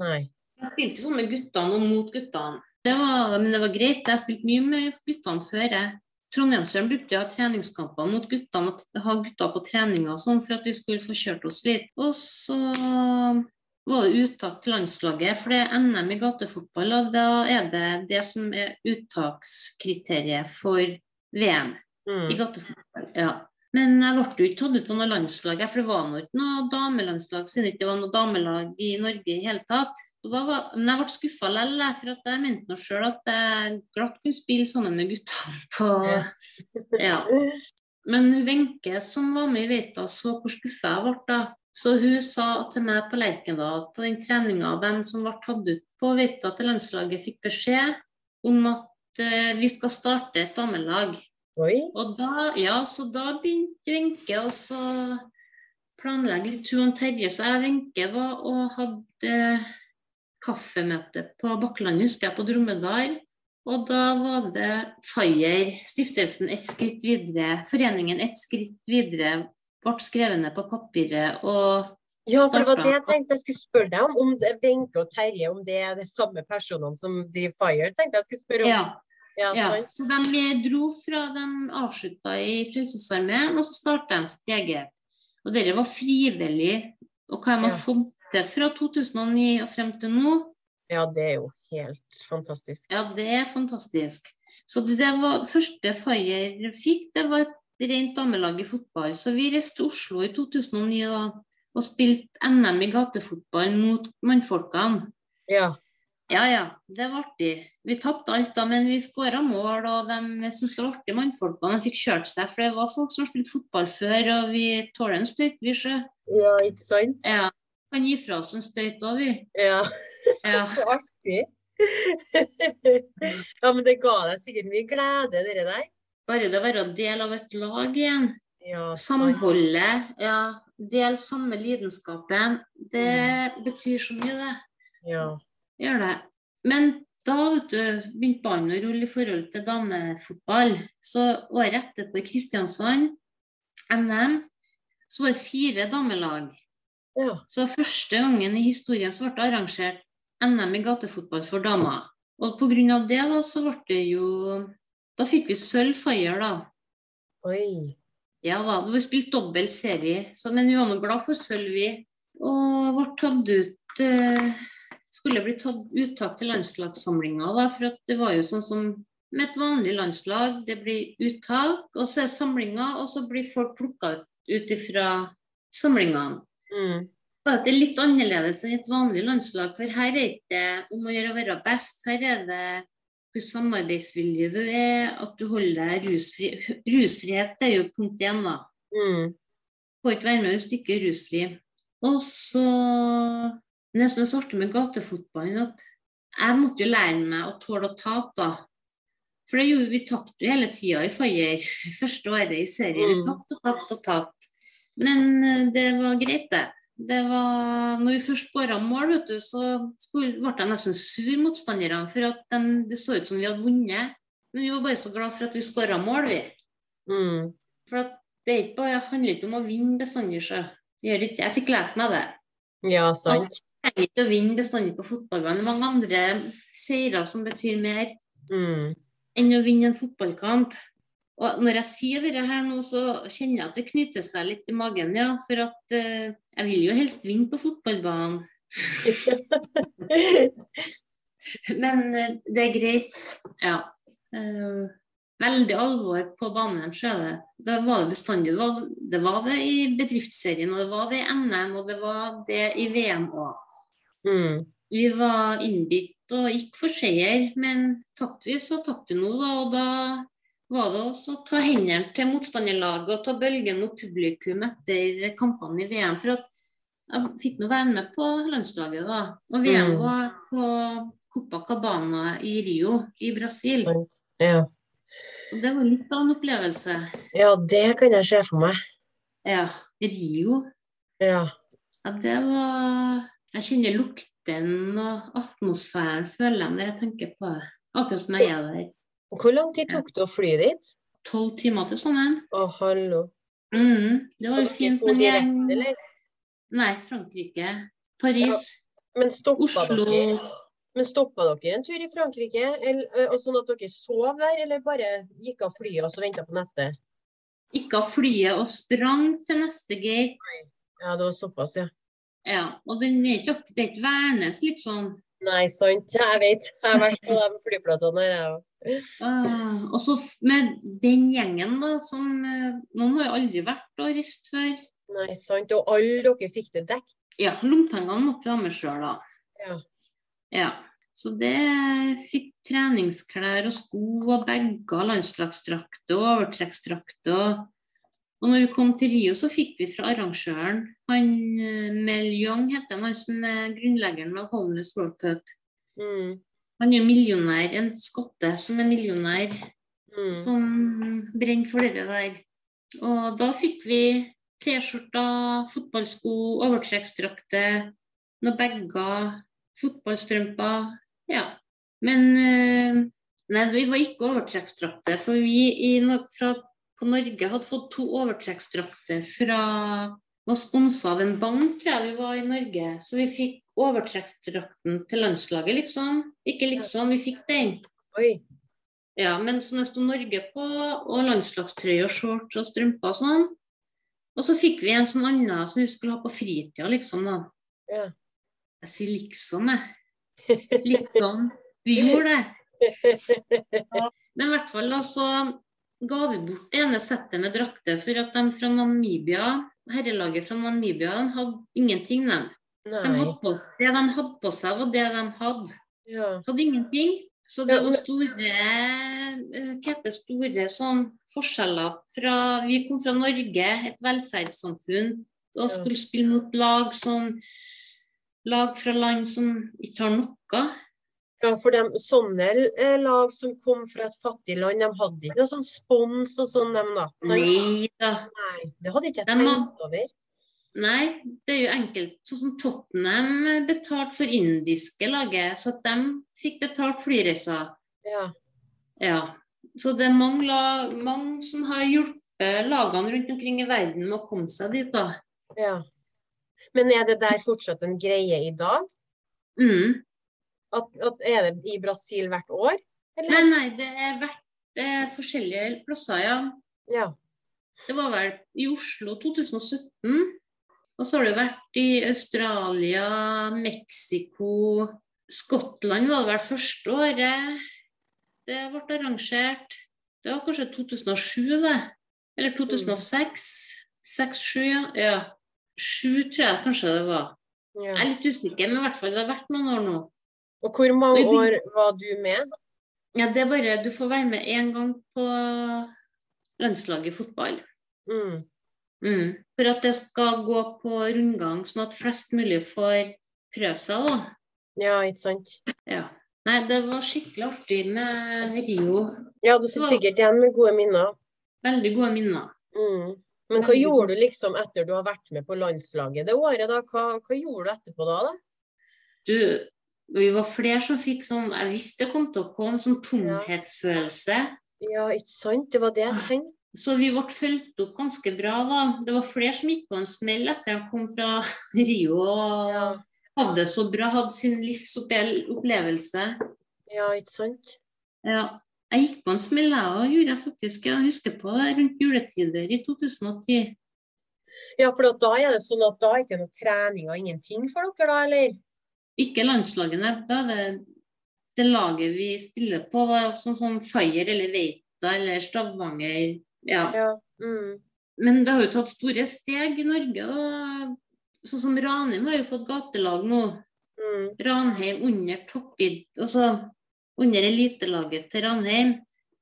A: Nei.
B: Jeg spilte jo sånn med guttene og mot guttene. Det var, men det var greit. Jeg spilte mye med guttene før. jeg. Trondheimsøren brukte å ha treningskamper mot guttene, at- ha gutta på treninger og sånn, for at vi skulle få kjørt oss litt. Og så var det uttak til landslaget, for det er NM i gatefotball, og da er det det som er uttakskriteriet for VM i
A: Mm.
B: gatefotball. Ja. Men jeg ble jo ikke tatt ut på noe landslag, jeg, for det var nå ikke noe damelandslag siden det ikke var noe damelag i Norge i hele tatt. Så da var, men jeg ble skuffa likevel, jeg, for at jeg mente nå sjøl at jeg glatt kunne spille sammen med guttene på Ja. Men hun Wenche som var med i Veita, så hvor skuffa jeg ble da. Så hun sa til meg på Lerkendal, på den treninga dem som ble tatt ut på Veita til landslaget, fikk beskjed om at eh, vi skal starte et damelag.
A: Oi.
B: Og da, ja, så da begynte Wenche å så planlegge litt hun og Terje. Så jeg og Wenche var og hadde eh, kaffemøte på Bakkelandet, husker jeg, på Dromedar. Og da var det Fayer, stiftelsen Ett skritt videre, foreningen Ett skritt videre, ble skrevet ned på papiret. Og
A: Ja, for det var
B: Starta.
A: det jeg tenkte jeg skulle spørre deg om. Om det er Wenche og Terje om det er de samme personene som driver Fire, tenkte jeg skulle spørre om.
B: ja,
A: Ja,
B: ja.
A: sant.
B: Så de dro fra de avslutta i Frelsesarmeen, og så starta de sitt eget. Og dette var frivillig. Og hva de har
A: Ja.
B: fått til fra 2009 og frem til nå,
A: ja, det er jo helt fantastisk.
B: ja, det er fantastisk. Så det det var, første Fayer fikk, det var et rent damelag i fotball. Så vi reiste til Oslo i 2009 og, og spilte NM i gatefotball mot mannfolkene.
A: Ja.
B: Ja, ja. Det var artig. Vi tapte alt da, men vi skåra mål, og de syntes det var artig, mannfolkene. De fikk kjørt seg, for det var folk som har spilt fotball før, og vi tåler en støyt, vi sjø.
A: ja, ikke sant?
B: Ja. Kan gi fra oss en støyt òg, vi.
A: Ja.
B: Ja.
A: Så artig. ja, men det ga deg sikkert mye glede, dere der.
B: Bare det å være del av et lag igjen.
A: Ja, sant.
B: Samholdet. Ja. Del samme lidenskapen. Det betyr så mye, det.
A: Ja.
B: Gjør det. Men da vet du, begynte ballen å rulle i forhold til damefotball. Så året etterpå i Kristiansand, NM, så var det fire damelag.
A: ja.
B: Så første gangen i historien så ble det arrangert NM i gatefotball for damer. Og pga. det da, så ble det jo Da fikk vi sølv Fayer, da.
A: Oi.
B: Ja da. Vi spilte dobbel serie, så, men vi var nå glad for sølv, vi. Og ble tatt ut eh, Skulle bli tatt uttak til landslagssamlinga, da, for at det var jo sånn som med et vanlig landslag. Det blir uttak, og så er samlinga, og så blir folk plukka ut ut ifra samlingene.
A: Mm.
B: Bare at det er litt annerledes enn et vanlig landslag, for her er det ikke om å gjøre å være best. Her er det hvor samarbeidsvillig du er, at du holder deg rusfri. Rusfrihet det er jo punkt én, da.
A: Mm.
B: Får ikke være med hvis du ikke er rusfri. Og så Det som er så artig med gatefotballen, at jeg måtte jo lære meg å tåle å tape, da. For det gjorde vi tapte jo hele tida i Fayer. Første året i serien.
A: Mm.
B: Vi tapte og tapte og tapte. Men eh, det var greit, det. Det var, når vi først skåra mål, vet du, så skulle, ble jeg nesten sur motstanderne. For at dem- det så ut som vi hadde vunnet. Men vi var bare så glad for at vi skåra mål, vi.
A: Mm.
B: For at det er ikke bare, det handler ikke om å vinne bestandig. så. Det gjør ikke- Jeg fikk lært meg det.
A: Ja, sant.
B: Jeg trenger ikke å vinne bestandig på fotballbanen. Det er mange andre seirer som betyr mer
A: Mm.
B: enn å vinne en fotballkamp. Og når jeg sier dette her nå, så kjenner jeg at det knytter seg litt i magen, ja. For at eh, jeg vil jo helst vinne på fotballbanen. Men eh, det er greit. Ja. Eh, veldig alvor på banen, så er det. Det var det bestandig. Det var, det var det i bedriftsserien, og det var det i NM, og det var det i VM òg.
A: Mm.
B: Vi var innbitt og gikk for seier, men tapte vi, så tapte vi nå, da. Og da var det også å ta hendene til motstanderlaget og ta bølgen opp publikum etter kampene i VM. For at jeg fikk nå være med på landslaget, da. Og VM
A: Mm.
B: var på Copacabana i Rio i Brasil.
A: sant. Ja.
B: Og det var litt av en opplevelse.
A: ja, det kan jeg se for meg.
B: Ja, Rio.
A: Ja.
B: Ja, det var Jeg kjenner lukten og atmosfæren, føler jeg, når jeg tenker på det. Akkurat som jeg er der.
A: Hvor lang tid tok det å fly dit?
B: Tolv timer til sammen.
A: Å, hallo.
B: Mhm, det var
A: Så
B: jo
A: dere
B: fint.
A: for
B: Men
A: direkte,
B: jeg
A: eller?
B: Nei, Frankrike. Paris.
A: Men stoppa
B: Oslo.
A: dere, men stoppa dere en tur i Frankrike, eller, og sånn at dere sov der, eller bare gikk av flyet og så venta på neste?
B: Ikke av flyet og sprang til neste gate.
A: Ja, det var såpass, ja.
B: Ja, og den er ikke opp, det er ikke Værnes, liksom.
A: Nei, sant. Jeg vet. Jeg har vært på de flyplassene her, jeg òg.
B: Ah, og så f- med den gjengen, da, som eh, Noen har jo aldri vært og reist før.
A: Nei, sant. Og alle dere fikk det dekt.
B: Ja, lommepengene måtte vi ha med sjøl, da.
A: Ja.
B: Ja. Så det fikk treningsklær og sko og bager, landslagsdrakt og overtrekksdrakt. Og, og når vi kom til Rio, så fikk vi fra arrangøren han eh, Mel Young, heter han, han som er grunnleggeren av Homeless World Cup.
A: Mm.
B: Han er jo millionær, en skotte som er millionær
A: Mm.
B: som brenner for dere der. Og da fikk vi T-skjorter, fotballsko, overtrekksdrakter, noen bager, fotballstrømper. Ja. Men eh, nei, vi var ikke overtrekksdrakter, for vi i, Nor- fra, på Norge hadde fått to overtrekksdrakter fra var sponsa av en bank, tror jeg vi var i Norge. Så vi fikk overtrekksdrakten til landslaget, liksom. Ikke liksom, vi fikk den.
A: Oi.
B: Ja, men så det sto Norge på, og landslagstrøye og shorts og strømper og sånn. Og så fikk vi en sånn annen som vi skulle ha på fritida, liksom, da.
A: Ja.
B: Jeg sier liksom, jeg. Liksom. Vi gjorde det. Men i hvert fall, da, så ga vi bort det ene settet med drakter for at de fra Namibia, herrelaget fra Namibia, de hadde ingenting, de. De
A: Nei.
B: hadde på, det de hadde på seg, var det de hadde
A: Ja.
B: hadde ingenting. Så det
A: Ja,
B: var
A: men-
B: store eh, Hva heter det, store sånn forskjeller fra Vi kom fra Norge, et velferdssamfunn,
A: Ja.
B: og skulle spille mot lag som Lag fra land som ikke har noe.
A: Ja, for dem, sånne eh, lag som kom fra et fattig land, de hadde ikke noe sånn spons og sånn, dem da. sant?
B: Nei da.
A: Nei, det hadde ikke jeg
B: De
A: tenkt over.
B: Nei, det er jo enkelt. Sånn som Tottenham betalte for indiske laget, så at de fikk betalt flyreiser.
A: Ja.
B: Ja. Så det er mange, lag, mange som har hjulpet lagene rundt omkring i verden med å komme seg dit, da.
A: ja. Men er det der fortsatt en greie i dag?
B: Mm.
A: At, at er det i Brasil hvert år?
B: Nei, nei, det er vært eh, forskjellige plasser, ja.
A: Ja.
B: Det var vel i Oslo 2017. Og så har det vært i Australia, Mexico Skottland var det vel første året det ble arrangert. Det var kanskje 2007, det. Eller 2006. 6-7, ja. ja. 7 tror jeg kanskje det var.
A: ja.
B: Jeg er litt usikker, men i hvert fall det har vært noen år nå.
A: Og hvor mange år var du med?
B: Ja, det er bare Du får være med én gang på landslaget i fotball.
A: Mm.
B: Mm. For at det skal gå på rundgang, sånn at flest mulig får prøve seg, da.
A: Ja, ikke sant.
B: Ja. Nei, det var skikkelig artig med Rio.
A: Ja, du sitter sikkert igjen med gode minner.
B: Veldig gode minner.
A: Mm. Men hva
B: Veldig
A: gjorde du liksom etter du har vært med på landslaget det året, da? Hva, hva gjorde du etterpå da, da?
B: Du, vi var flere som fikk sånn Jeg visste det kom til å komme, sånn tomhetsfølelse.
A: Ja, ikke sant? Det var det jeg tenkte.
B: Så vi ble fulgt opp ganske bra. Da. Det var flere som gikk på en smell etter de kom fra Rio og
A: Ja,
B: hadde det så bra, hadde sin livsopplevelse.
A: ja ikke sant?
B: Ja. Jeg gikk på en smell, jeg òg, gjorde jeg faktisk. Jeg husker på det rundt juletider i 2010.
A: Ja, for da er det sånn at da er det ikke noe trening og ingenting for dere, da, eller?
B: Ikke landslagene. Da er det det laget vi spiller på, da, sånn som Fire eller Veita eller Stavanger. Ja.
A: Ja. Mm.
B: Men det har jo tatt store steg i Norge. da. Sånn som Ranheim har jo fått gatelag nå.
A: Mm.
B: Ranheim under toppid, altså under elitelaget til Ranheim.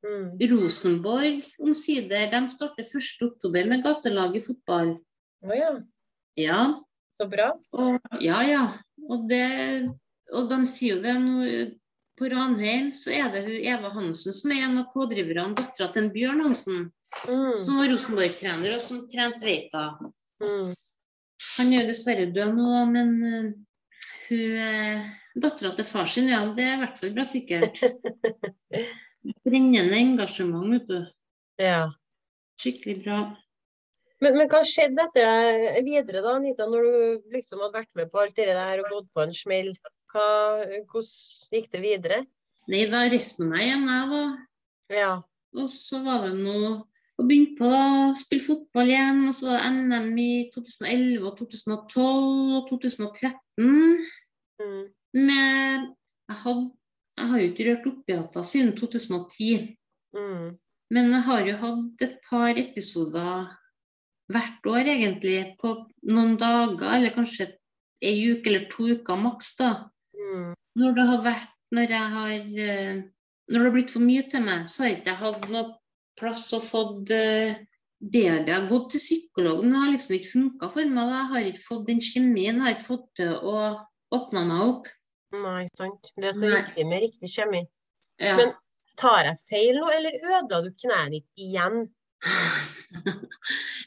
A: Mm.
B: Rosenborg omsider, de starter 1.10 med gatelag i fotball.
A: Å ja,
B: Ja,
A: så bra.
B: Og, ja, ja. Og, det, og de sier jo det nå eh, På Ranheim så er det hun Eva Hansen som er en av pådriverne, dattera til en Bjørn Hansen,
A: Mm.
B: som var Rosenborg-trener og som trente Veita.
A: Mm.
B: Han er jo dessverre død nå, da, men eh, hun eh, Dattera til far sin, ja, det er i hvert fall bra sikkert. Brennende engasjement, vet du.
A: Ja.
B: Skikkelig bra.
A: Men, men hva skjedde etter deg videre, da, Anita, når du liksom hadde vært med på alt det der og gått på en smell? Hva, hvordan gikk det videre?
B: Nei, da reiste meg hjem, jeg, da.
A: Ja.
B: Og så var det noe og begynte på å spille fotball igjen. Og så var det NM i 2011 og 2012 og 2013.
A: Mm.
B: Med Jeg, hadde, jeg har jo ikke rørt opiater siden 2010.
A: Mm.
B: Men jeg har jo hatt et par episoder hvert år, egentlig. På noen dager, eller kanskje ei uke eller to uker maks, da.
A: Mm.
B: Når det har vært Når jeg har eh, Når det har blitt for mye til meg, så har ikke jeg hatt noe plass og fått eh, bedre. Jeg har gått til psykolog, men det har liksom ikke funka for meg. da. Jeg har ikke fått den kjemien. Jeg har ikke fått til å åpne meg opp.
A: Nei, sant. Det er så
B: Nei.
A: viktig med riktig kjemi.
B: Ja.
A: Men- Tar jeg feil nå, eller ødela du kneet ditt igjen?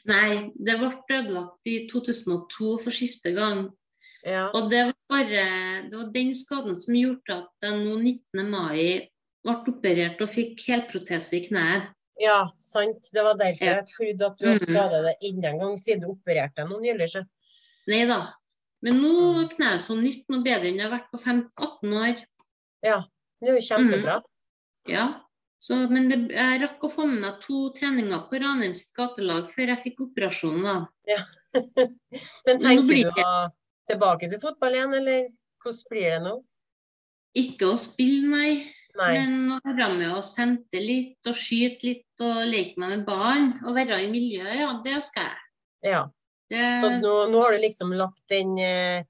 B: Nei, det ble ødelagt i 2002 for siste gang.
A: Ja.
B: Og det var bare Det var den skaden som gjorde at jeg nå 19. mai ble operert og fikk helprotese i kneet.
A: ja, sant. Det var derfor
B: Ja.
A: jeg trodde at du hadde
B: Mhm.
A: skada deg enda en gang, siden du opererte deg noen nylig. så-
B: Nei da. Men nå
A: Mm.
B: er kneet så nytt, noe bedre enn det har vært på 15-18 år.
A: Det er jo
B: Mm.
A: kjempebra.
B: Ja. Så, men det, jeg rakk å få med meg to treninger på Ranheim sitt gatelag før jeg fikk operasjonen. da.
A: Men
B: Men nå
A: tenker
B: blir
A: du å tilbake til fotball igjen, eller hvordan blir det nå?
B: Ikke å spille, nei,
A: Nei.
B: men å være med og sente litt og skyte litt og leke meg med ballen og være i miljøet, ja, det skal jeg.
A: Ja.
B: Det,
A: Så nå, nå har du liksom lagt den eh,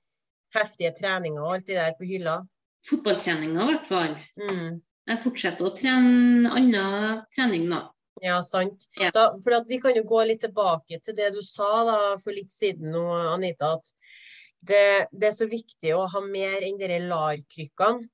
A: heftige treninga og alt det der på hylla?
B: Fotballtreninga, i hvert fall.
A: Mm.
B: Jeg fortsetter å trene annen trening, da.
A: Ja, sant.
B: Ja.
A: Da, for at vi kan jo gå litt tilbake til det du sa da, for litt siden nå, Anita. At det, det er så viktig å ha mer enn de LAR-krykkene.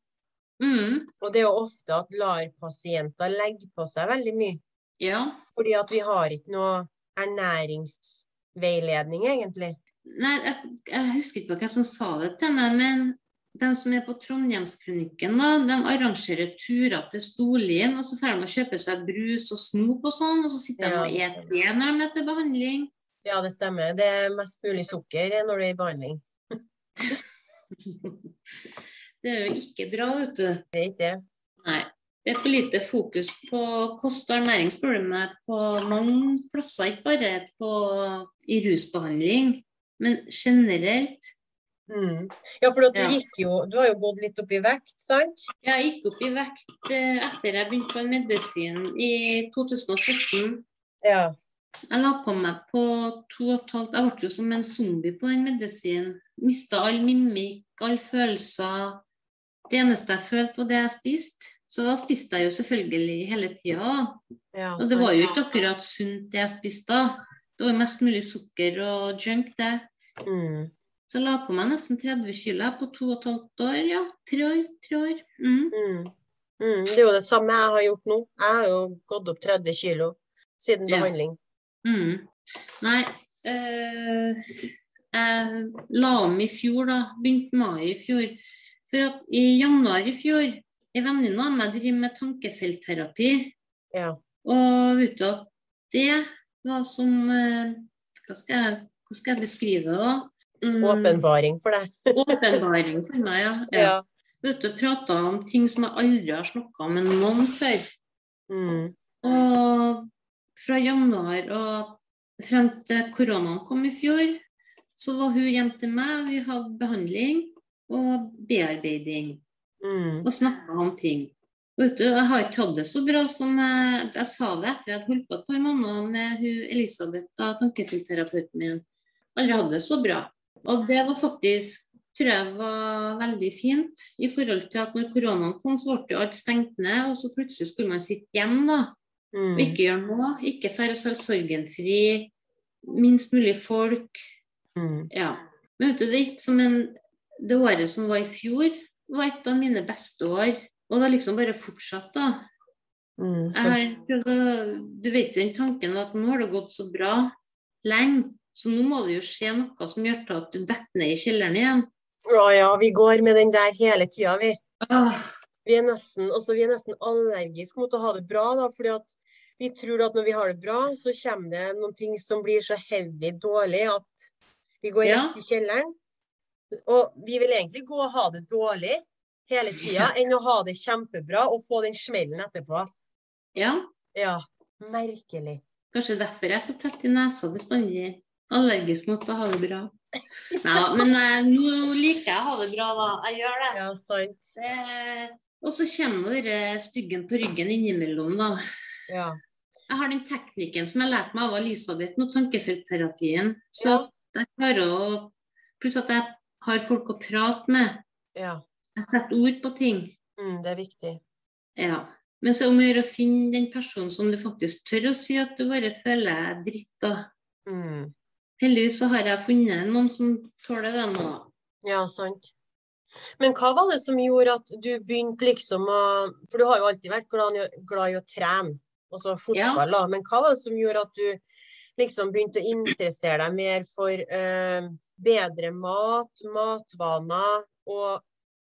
B: Mm,
A: Og det er jo ofte at LAR-pasienter legger på seg veldig mye.
B: ja.
A: Fordi at vi har ikke noe ernæringsveiledning, egentlig.
B: Nei, jeg, jeg husker ikke hvem som sa det til meg, men de som er på Trondheimsklinikken, da, de arrangerer turer til Storlien, og så drar de og kjøper seg brus og snop og sånn, og så sitter de
A: Ja,
B: og
A: det
B: eter det når de er til behandling.
A: Ja, det stemmer. Det er mest mulig sukker når du er i behandling.
B: Det er jo ikke bra, vet du.
A: Det er ikke det.
B: Nei. Det er for lite fokus på kost og ernæring, spør du meg, på mange plasser, ikke bare på, i rusbehandling, men generelt.
A: Mm. Ja, for at du
B: Ja.
A: gikk jo Du har jo gått litt opp i vekt, sant?
B: Jeg gikk opp i vekt eh, etter jeg begynte på medisin i 2017.
A: Ja.
B: Jeg la på meg på to og et halvt Jeg ble jo som en zombie på den medisinen. Mista all mimikk, alle følelser. Det eneste jeg følte, var det jeg spiste. Så da spiste jeg jo selvfølgelig hele tida.
A: ja
B: Og det var jo ikke akkurat sunt, det jeg spiste da. Det var jo mest mulig sukker og junk, det.
A: mm.
B: Så jeg la på meg nesten 30 kilo jeg, på to og et halvt år. Ja, tre år. Tre år. Mm.
A: Mm. Mm. Det er jo det samme jeg har gjort nå. Jeg har jo gått opp 30 kilo siden
B: Ja.
A: behandling.
B: Mm. Nei eh, Jeg la om i fjor, da. Begynte mai i fjor. For at i januar i fjor En venninne av meg driver med tankefeltterapi.
A: Ja.
B: Og vet du at det var som eh, hva skal jeg, Hvordan skal jeg beskrive det? da? Mm,
A: Åpenbaring for deg.
B: Åpenbaring for meg, ja. ja. Vet du, Prata om ting som jeg aldri har snakka med noen før.
A: Mm.
B: Og fra januar og frem til koronaen kom i fjor, så var hun hjemme til meg, og vi hadde behandling og bearbeiding.
A: Mm.
B: Og snakka om ting. Vet du, Jeg har ikke hatt det så bra som jeg, jeg sa det etter jeg hadde holdt på et par måneder med hun Elisabeth, da, tankefilterapeuten min. Aldri hatt det så bra. Og det var faktisk, tror jeg var veldig fint, i forhold til at når koronaen kom, så ble jo alt stengt ned, og så plutselig skulle man sitte hjemme, da. Og
A: Mm.
B: ikke gjøre noe. Ikke færre selv sorgenfri. Minst mulig folk.
A: Mm.
B: Ja. Men vet du, det gikk som en Det året som var i fjor, var et av mine beste år. Og det har liksom bare fortsatt, da.
A: Mm.
B: Jeg har prøvd å Du vet den tanken at nå har det gått så bra lenge, så nå må det jo skje noe som gjør til at du detter ned i kjelleren igjen.
A: Å ja, vi går med den der hele tida, vi.
B: Ah,
A: Vi er nesten, altså, vi er nesten allergiske mot å ha det bra, da, fordi at vi tror at når vi har det bra, så kommer det noen ting som blir så heavy dårlig at vi går
B: Ja.
A: rett i kjelleren. Og vi vil egentlig gå og ha det dårlig hele tida, enn å ha det kjempebra og få den smellen etterpå.
B: ja.
A: Ja, merkelig.
B: Kanskje derfor jeg er så tett i nesa bestandig. Allergisk mot å ha det bra. Nei, men eh, nå liker jeg å ha det bra, da. Jeg gjør det.
A: Ja, sant.
B: Eh, og så kommer jo denne styggen på ryggen innimellom, da.
A: Ja.
B: Jeg har den teknikken som jeg lærte meg av Elisabeth, nå tankefeltterapien. Så
A: Ja.
B: at jeg klarer å Pluss at jeg har folk å prate med.
A: ja.
B: Jeg setter ord på ting.
A: Mm, det er viktig.
B: Ja. Men så er det om å gjøre å finne den personen som du faktisk tør å si at du bare føler dritt, da.
A: Mm.
B: Heldigvis så har jeg funnet noen som tåler det nå.
A: Ja, sant. Men hva var det som gjorde at du begynte liksom å For du har jo alltid vært glad, i å- glad i å trene, altså fotball, da. Men hva var det som gjorde at du liksom begynte å interessere deg mer for eh, bedre mat, matvaner og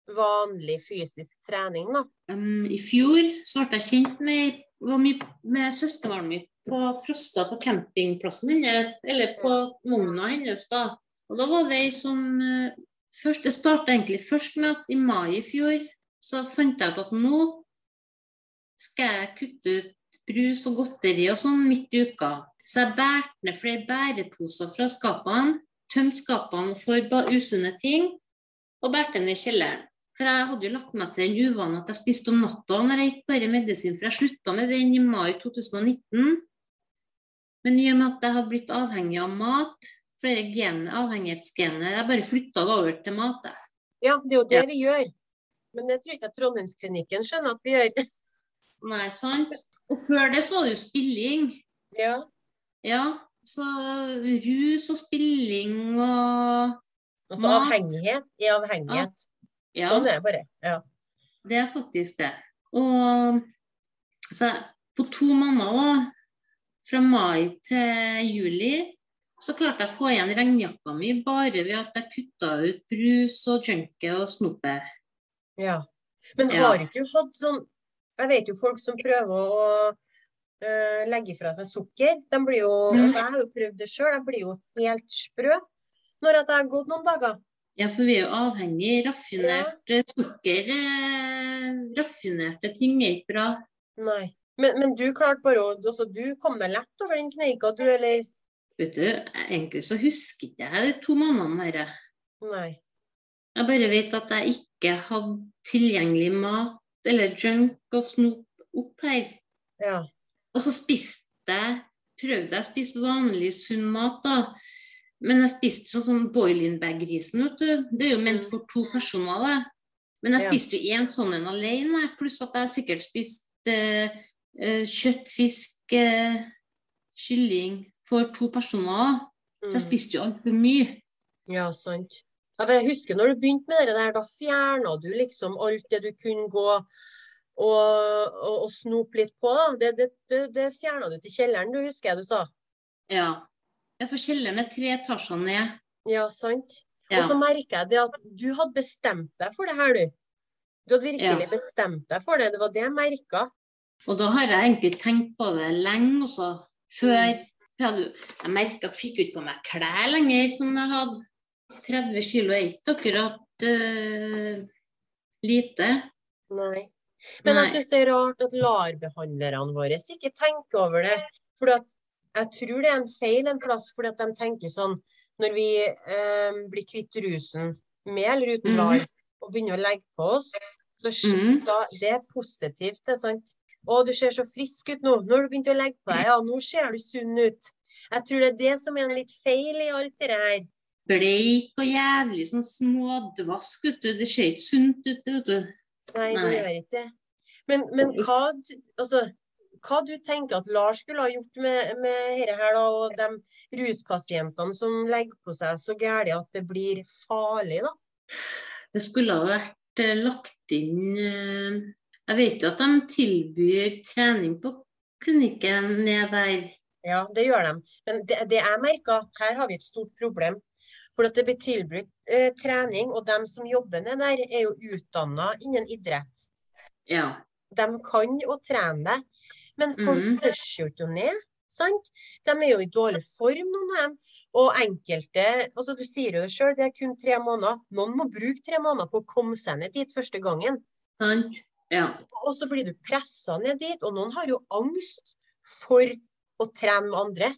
A: vanlig fysisk trening, da?
B: Um, I fjor så ble jeg kjent med, var mye, med søskenbarnet mitt på Frosta, på campingplassen hennes, eller på vogna hennes. da. Og da var det ei som eh, først, Det starta egentlig først med at i mai i fjor så fant jeg ut at nå skal jeg kutte ut brus og godteri og sånn midt i uka. Så jeg bærte ned flere bæreposer fra skapene, tømte skapene for ba- usunne ting og bærte ned i kjelleren. For jeg hadde jo lagt meg til den uvanen at jeg spiste om natta når jeg gikk bare medisin, for jeg slutta med den i mai 2019. Men i og med at jeg hadde blitt avhengig av mat, flere gen, avhengighetsgener Jeg bare flytta det over til mat. jeg.
A: Ja, det er jo det vi gjør. Men det tror jeg ikke at Trondheimsklinikken skjønner at vi gjør.
B: Nei, sant? Og før det så var det jo spilling.
A: Ja.
B: Ja, så rus og spilling og
A: Altså
B: Mat.
A: avhengighet er avhengighet.
B: ja.
A: Sånn er det bare. Ja.
B: Det er faktisk det. Og så jeg- på to måneder òg, fra mai til juli, så klarte jeg å få igjen regnjakka mi bare ved at jeg kutta ut brus og junkie og snopet.
A: Ja. Men
B: Ja.
A: har ikke du hatt sånn Jeg vet jo folk som prøver å øh, legge fra seg sukker. De blir jo
B: Mm.
A: altså, Jeg har jo prøvd det sjøl. Jeg blir jo helt sprø når at jeg har gått noen dager.
B: Ja, for vi er jo avhengig. Raffinert eh, sukker eh, Raffinerte ting er ikke bra.
A: Nei. Men, men du klarte bare å altså, Du kom deg lett over den kneika, du, eller?
B: Vet du, jeg- egentlig så husker ikke jeg de to månedene der.
A: Nei.
B: Jeg bare vet at jeg ikke hadde tilgjengelig mat eller junk og snop opp her.
A: Ja.
B: Og så spiste jeg Prøvde jeg å spise vanlig sunn mat, da. Men jeg spiste sånn som boiling bag-grisen, vet du. Det er jo ment for to personer, det. Men jeg
A: Ja.
B: spiste jo én sånn en alene, jeg. pluss at jeg sikkert spiste eh, eh, kjøtt, fisk, eh, kylling for to personer òg. Så jeg
A: Mm.
B: spiste jo altfor mye.
A: Ja, sant. Ja, for jeg husker når du begynte med det der, da fjerna du liksom alt det du kunne gå og, og, og snope litt på. da. Det, det, det, det fjerna du til kjelleren, du husker jeg du sa.
B: Ja. Jeg får kjelleren er tre etasjer ned.
A: Ja, sant.
B: Ja.
A: Og så merker jeg det at du hadde bestemt deg for det her, du. Du hadde virkelig
B: Ja.
A: bestemt deg for det. Det var det jeg merka.
B: Og da har jeg egentlig tenkt på det lenge, og så Før
A: Mm.
B: hadde, jeg merka jeg fikk ikke på meg klær lenger som jeg hadde. 30 kilo er ikke akkurat øh, lite.
A: Nei. Men jeg
B: Nei.
A: syns det er rart at LAR-behandlerne våre ikke tenker over det. For at jeg tror det er en feil en plass, fordi at de tenker sånn Når vi eh, blir kvitt rusen med eller uten
B: Mhm.
A: LAR, og begynner å legge på oss, så sk-
B: Mhm.
A: da, det er positivt, det er sant. Å, du ser så frisk ut nå. Nå har du begynt å legge på deg. Ja, nå ser du sunn ut. Jeg tror det er det som er en litt feil i alt det her.
B: Bleik og jævlig sånn smådvask, vet du. Det ser ikke sunt ut, det, vet du.
A: Nei, det
B: Nei.
A: gjør ikke det. Men, men hva, d- altså, hva du tenker at Lars skulle ha gjort med, med dette her, da, og de ruspasientene som legger på seg så gærent at det blir farlig, da?
B: Det skulle ha vært eh, lagt inn eh, Jeg vet jo at de tilbyr trening på klinikken ned der.
A: Ja, det gjør de. Men det, det jeg merka, her har vi et stort problem. For at det blir tilbudt eh, trening, og de som jobber ned der, er jo utdanna innen idrett.
B: Ja.
A: De kan jo trene deg, men folk
B: Mhm.
A: tør jo ikke å ned. Sant? De er jo i dårlig form, noen av dem. Og enkelte altså Du sier jo det sjøl, det er kun tre måneder. Noen må bruke tre måneder på å komme seg ned dit første gangen.
B: Sant? Ja.
A: Og så blir du pressa ned dit, og noen har jo angst for å trene med andre.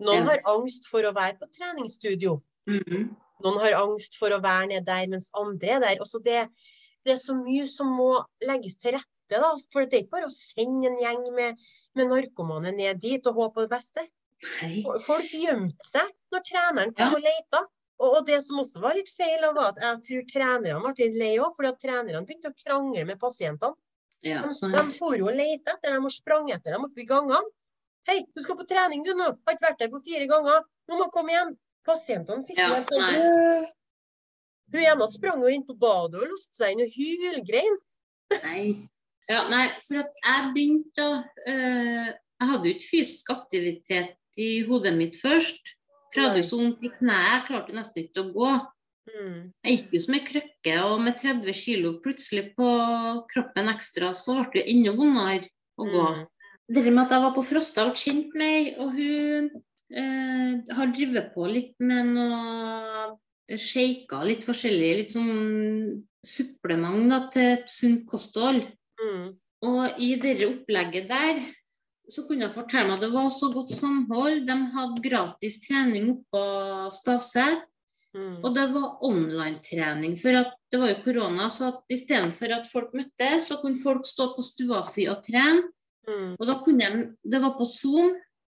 A: Noen
B: Ja.
A: har angst for å være på treningsstudio.
B: Mhm.
A: Noen har angst for å være nede der, mens andre er der. Altså det, det er så mye som må legges til rette, da. For det er ikke bare å sende en gjeng med, med narkomane ned dit og håpe på det beste.
B: Nei.
A: Folk gjemte seg når treneren kom
B: Ja.
A: og leita. Og, og det som også var litt feil, da, var at jeg tror trenerne ble litt lei òg, fordi at trenerne begynte å krangle med pasientene.
B: Ja, sånn.
A: De, de
B: sant.
A: for jo og lette etter dem og sprang etter dem oppe i gangene. 'Hei, du skal på trening du nå. Har ikke vært der på fire ganger. Nå må du komme hjem.' Pasientene fikk
B: Ja,
A: jo helt sånn
B: nei.
A: «Åh!» Hun ene sprang jo inn på badet og låste seg inn og hylgrein.
B: Nei. Ja, nei, for at jeg begynte å eh, Jeg hadde jo ikke fysisk aktivitet i hodet mitt først. For jeg hadde jo så vondt i kneet, jeg klarte nesten ikke å gå. Jeg gikk jo som ei krykke, og med 30 kilo plutselig på kroppen ekstra, så ble det enda vondere å gå.
A: Mm.
B: Det der med at jeg var på Frosta og ble kjent med ei, og hun eh, har drevet på litt med noe shaker, litt forskjellig, litt sånn supplement da, til et sunt kosthold.
A: Mm.
B: Og i det opplegget der så kunne jeg fortelle meg at det var så godt samhold. De hadde gratis trening oppå Stavset.
A: Mm.
B: Og det var online-trening. For at det var jo korona, så at istedenfor at folk møttes, så kunne folk stå på stua si og trene.
A: Mm.
B: Og da kunne de, Det var på Zoom,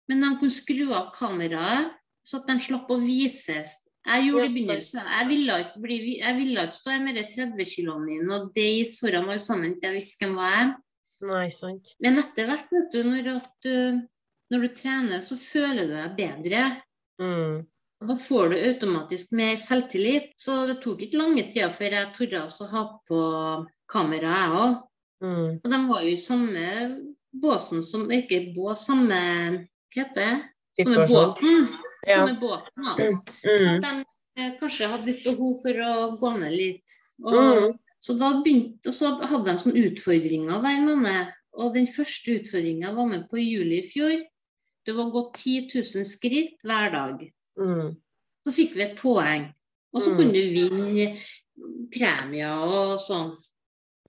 B: men de kunne skru av kameraet, så at de slapp å vises. Jeg gjorde det i
A: Ja,
B: begynnelsen. Jeg ville ikke, bli, vi- jeg ville ikke stå med de 30 kiloene mine og Days foran alle sammen til jeg visste hvem var jeg.
A: Nei, sant.
B: Men etter hvert, vet du, når, at, uh, når du trener, så føler du deg bedre.
A: Mm.
B: Og Da får du automatisk mer selvtillit. Så det tok ikke lange tida før jeg torde også å ha på kamera, jeg òg.
A: Mm.
B: Og de var jo i samme båsen som Ikke bås, samme Hva heter det?
A: Situasjon.
B: Samme båten.
A: Ja.
B: Samme båten, da.
A: Mm.
B: De eh, kanskje hadde litt behov for å gå ned litt. Og,
A: Mm.
B: så da begynte, og så hadde de sånne utfordringer hver måned. Og den første utfordringa var med på i juli i fjor. Det var å gå 10 000 skritt hver dag.
A: Mm.
B: Så fikk vi et poeng. Og så
A: Mm.
B: kunne du vinne premier og sånn.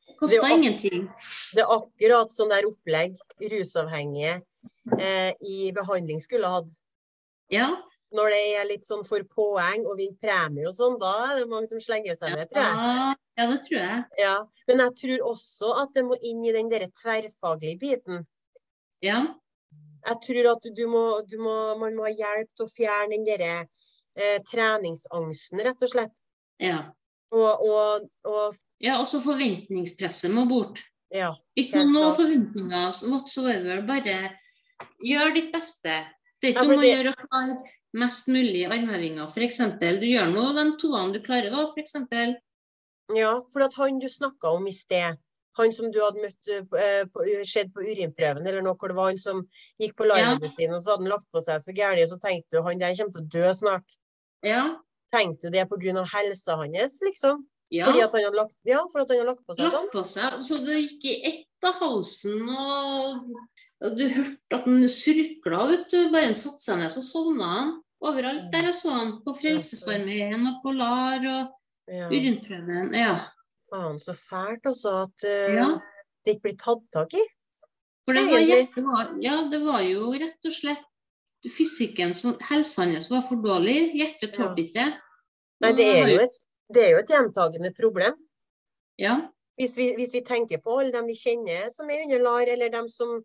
A: Det
B: Kosta
A: var-
B: ingenting.
A: Det er akkurat sånn der opplegg rusavhengige eh, i behandling skulle hatt.
B: Ja.
A: Når det er litt sånn for poeng og vinne premie og sånn, da er det mange som slenger seg med, tror jeg.
B: Ja, Ah, ja, det tror jeg.
A: Ja. Men jeg tror også at det må inn i den der tverrfaglige biten.
B: Ja.
A: Jeg tror at du må, du må, man må ha hjelp til å fjerne den derre eh, treningsangsten, rett og slett.
B: ja.
A: Og, og, og
B: ja også forventningspresset må bort.
A: ja.
B: Ikke
A: Helt
B: noe
A: klart.
B: forventninger som whatsoever. Bare gjør ditt beste. Det er
A: Ja,
B: ikke noe
A: for
B: å
A: det-
B: gjøre å klare mest mulig armhevinger, f.eks. Du gjør nå de toene du klarer, da, f.eks.
A: ja for at han du snakka om i sted, han som du hadde møtt eh, på- eh, på, sett på urinprøven eller noe, hvor det var han som gikk på
B: Ja.
A: LAR-medisin, og så hadde han lagt på seg så gærent, og så tenkte du han der kommer til å dø snart.
B: Ja.
A: Tenkte du det pga. helsa hans, liksom?
B: ja.
A: Fordi at han hadde lagt, ja, for at han hadde lagt på seg
B: lagt
A: sånn?
B: på seg, så det gikk i ett av halsen og Og Du hørte at han surkla ut. du. Bare han satte seg ned, så sovna han. Overalt der jeg så han. På Frelsesarmeen og på LAR og
A: Ja.
B: urinprøven. Ja.
A: Faen, så fælt altså at eh,
B: ja.
A: det ikke blir tatt tak i.
B: For det
A: Nei,
B: var,
A: det-
B: det var, ja, det var jo rett og slett fysikken som Helsa hans var for dårlig. Hjertet
A: Ja.
B: tålte ikke.
A: Nei,
B: Og
A: det
B: han
A: er
B: har
A: jo et, det er jo et gjentagende problem.
B: Ja.
A: Hvis vi, hvis vi tenker på alle dem vi kjenner som er under LAR, eller dem som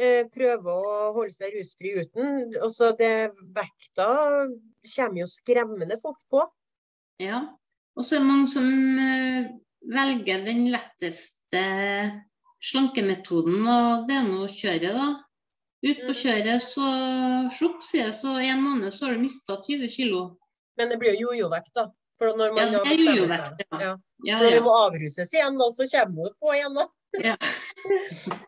A: eh, prøver å holde seg rusfri uten. Også det vekta kommer jo skremmende fort på.
B: Ja. Og så er det mange som eh, velger den letteste slankemetoden, og det er nå kjøret, da. Ut på
A: Mhm.
B: kjøret, så slupp, sier jeg, så en måned så har du mista 20 kilo.
A: Men det blir jo jojo-vekt, da. For når man
B: Ja,
A: da
B: det er
A: bestemmer
B: jojo-vekt,
A: seg-
B: ja.
A: Ja.
B: Ja,
A: Når det
B: ja.
A: må avruses igjen, da, så kommer hun på igjen, da.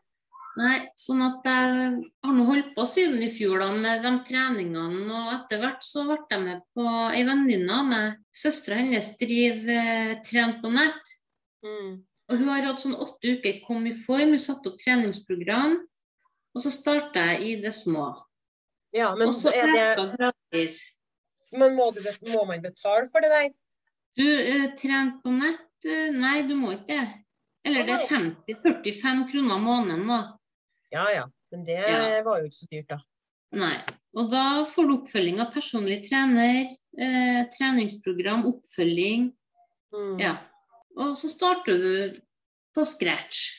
B: Nei, sånn at jeg har nå holdt på siden i fjor da, med de treningene, og etter hvert så ble jeg med på ei venninne av meg. Søstera hennes driver eh, Tren på nett. Mm. Og hun har hatt sånn åtte uker, kom i form, hun satte opp treningsprogram. Og så starta jeg i det små.
A: Ja, men,
B: og så
A: er det,
B: økte hun gradvis.
A: men må, du, bet- må man betale for det der?
B: Du eh, trent på nett? Eh, Nei, du må ikke det. Eller det er 50-45 kroner måneden, da.
A: Ja ja. Men det
B: Ja.
A: var jo ikke så dyrt, da.
B: Nei. Og da får du oppfølging av personlig trener, eh, treningsprogram, oppfølging.
A: Mm.
B: Ja. Og så starter du på scratch.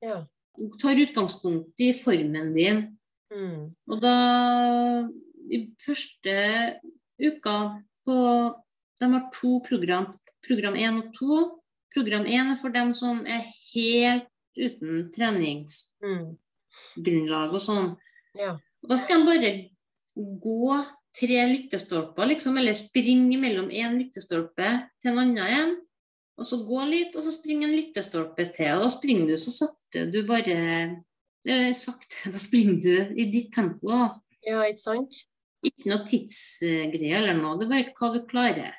A: Ja.
B: Du tar utgangspunkt i formen din.
A: Mm.
B: Og da I første uka på De har to program. Program 1 og 2. Program 1 er for dem som er helt uten treningsgrunnlag
A: Mm.
B: og sånn.
A: Ja.
B: Og da skal de bare gå tre lyktestolper, liksom, eller springe mellom én lyktestolpe til en annen igjen. Og så gå litt, og så springe en lyktestolpe til. Og da springer du så sakte du bare Eller sakte, da springer du i ditt tempo. da.
A: ja, ikke sant?
B: Ikke noe tidsgreie eller noe. Det er bare hva du klarer.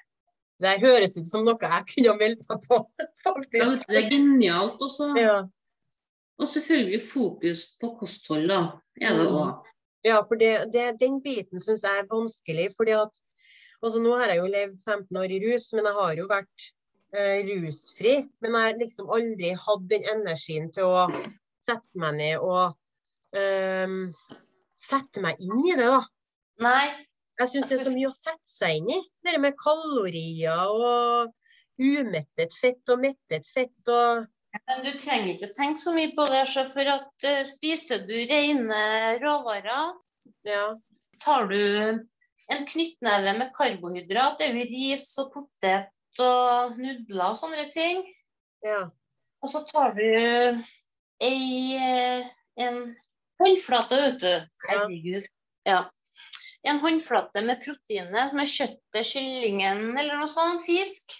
A: Det her høres ut som noe jeg kunne ha meldt meg på,
B: Ja, vet
A: faktisk.
B: du, Det er genialt også.
A: Ja.
B: Og selvfølgelig fokus på kosthold, da. Er det
A: Mm.
B: òg.
A: ja, for det, det, den biten syns jeg er vanskelig. fordi at altså Nå har jeg jo levd 15 år i rus, men jeg har jo vært eh, rusfri. Men jeg har liksom aldri hatt den energien til å sette meg ned og ehm, sette meg inn i det, da.
B: Nei.
A: Jeg syns det er så mye å sette seg inn i. Det der med kalorier og umettet fett og mettet fett og
B: Men du trenger ikke tenke så mye på det, sjef, for at eh, spiser du rene råvarer,
A: Ja.
B: tar du en knyttneve med karbohydrat, det er jo ris og potet og nudler og sånne ting,
A: ja.
B: og så tar du ei, eh, en håndflate, vet du. Herregud. Ja. En håndflate med proteiner, som er kjøttet, kyllingen eller noe sånn fisk,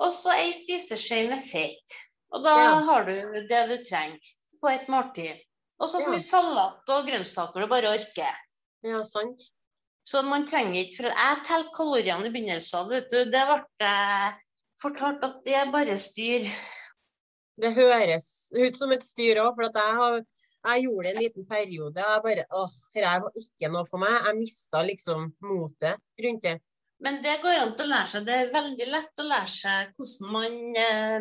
B: og så ei spiseskje med fett. Og da
A: Ja.
B: har du det du trenger på et måltid. Og så så
A: Ja.
B: mye salat og grønnsaker du bare orker.
A: Ja, sant.
B: Så man trenger ikke For jeg telte kaloriene i begynnelsen. Vet du. Det ble jeg fortalt at det er bare styr.
A: Det høres ut som et styr òg, for at jeg, har, jeg gjorde det en liten periode. Jeg bare åh, dette her var ikke noe for meg. Jeg mista liksom motet rundt det.
B: Men det går an til å lære seg. Det er veldig lett å lære seg hvordan man eh,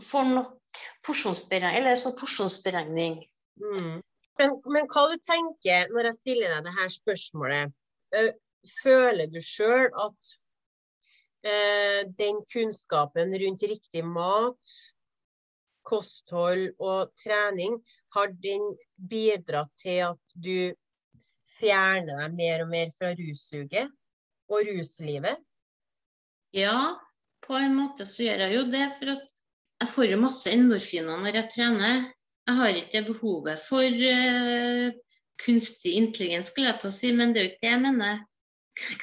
B: får nok porsjonsberegning, eller sånn porsjonsberegning.
A: Mm. Men, men hva du tenker når jeg stiller deg det her spørsmålet? Eh, Føler du sjøl at eh, den kunnskapen rundt riktig mat, kosthold og trening, har den bidratt til at du fjerner deg mer og mer fra russuget og ruslivet?
B: Ja, på en måte så gjør jeg jo det, for at jeg får jo masse endorfiner når jeg trener. Jeg har ikke det behovet for eh, kunstig intelligens, skulle jeg til å si, men det er jo ikke det jeg mener.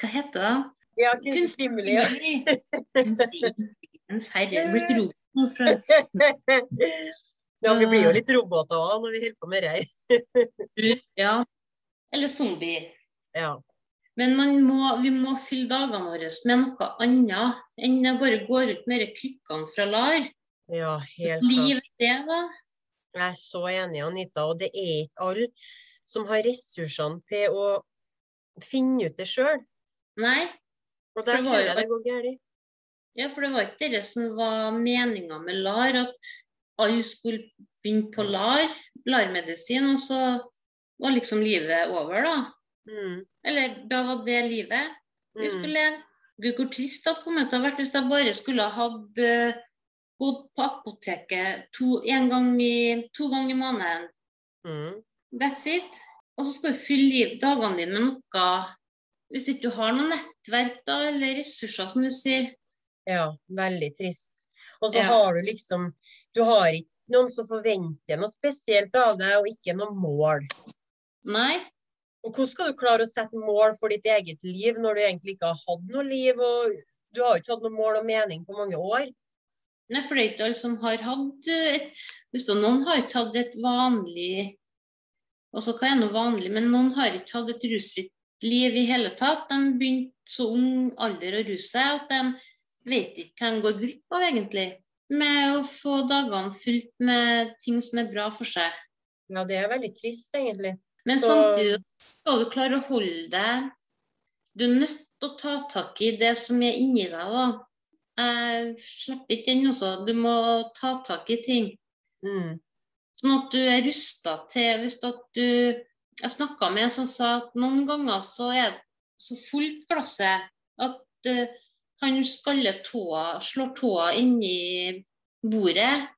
B: Hva heter det?
A: Ja,
B: Kunstig
A: kunstig stimuli. ja.
B: stimuli. Kunstig intelligens, herre, jeg blir rolig nå fra
A: ja, vi blir jo litt roboter òg når vi holder på med det her.
B: Ja. Eller zombie.
A: Ja.
B: Men man må, vi må fylle dagene våre med noe annet enn å bare gå rundt med de krykkene fra LAR.
A: ja, helt klart.
B: Liv er det, da.
A: Jeg er så enig, Anita. Og det er ikke alle som har ressursene til å finne ut det sjøl.
B: Nei,
A: Og
B: For
A: der
B: det var
A: tror
B: jo-
A: jeg det går galt.
B: Ja, for det var ikke det som var meninga med LAR, at alle skulle begynne på LAR, LAR-medisin, og så var liksom livet over, da.
A: Mm.
B: Eller da var det livet vi
A: Mm.
B: skulle leve. Gud, hvor trist det kom ut å ha vært hvis jeg bare skulle ha hatt eh, gått på apoteket to, en gang i, to ganger i måneden.
A: Mm.
B: That's it. Og så skal du fylle liv- dagene dine med noe Hvis ikke du har noe nettverk da, eller ressurser, som du sier.
A: Ja, veldig trist. Og så
B: Ja.
A: har du liksom Du har ikke noen som forventer noe spesielt av deg, og ikke noe mål.
B: Nei.
A: Og hvordan skal du klare å sette mål for ditt eget liv når du egentlig ikke har hatt noe liv, og du har jo ikke hatt noe mål og mening på mange år?
B: Nei, for det er ikke alle som har hatt eh, et Hvis da noen har ikke hatt et vanlig Altså hva er noe vanlig, men noen har ikke hatt et rusfritt liv i hele tatt. De begynte så ung alder å ruse seg at de vet ikke hva de går glipp av, egentlig. Med å få dagene fylt med ting som er bra for seg.
A: Ja, det er veldig trist, egentlig.
B: Men
A: Så-
B: samtidig skal du klare å holde deg Du er nødt til å ta tak i det som er inni deg, da. Jeg slipper ikke den, altså. Du må ta tak i ting.
A: Mm.
B: Sånn at du er rusta til hvis at du Jeg snakka med en som sa at noen ganger så er så fullt glasset at eh, han skaller tåa, slår tåa inni bordet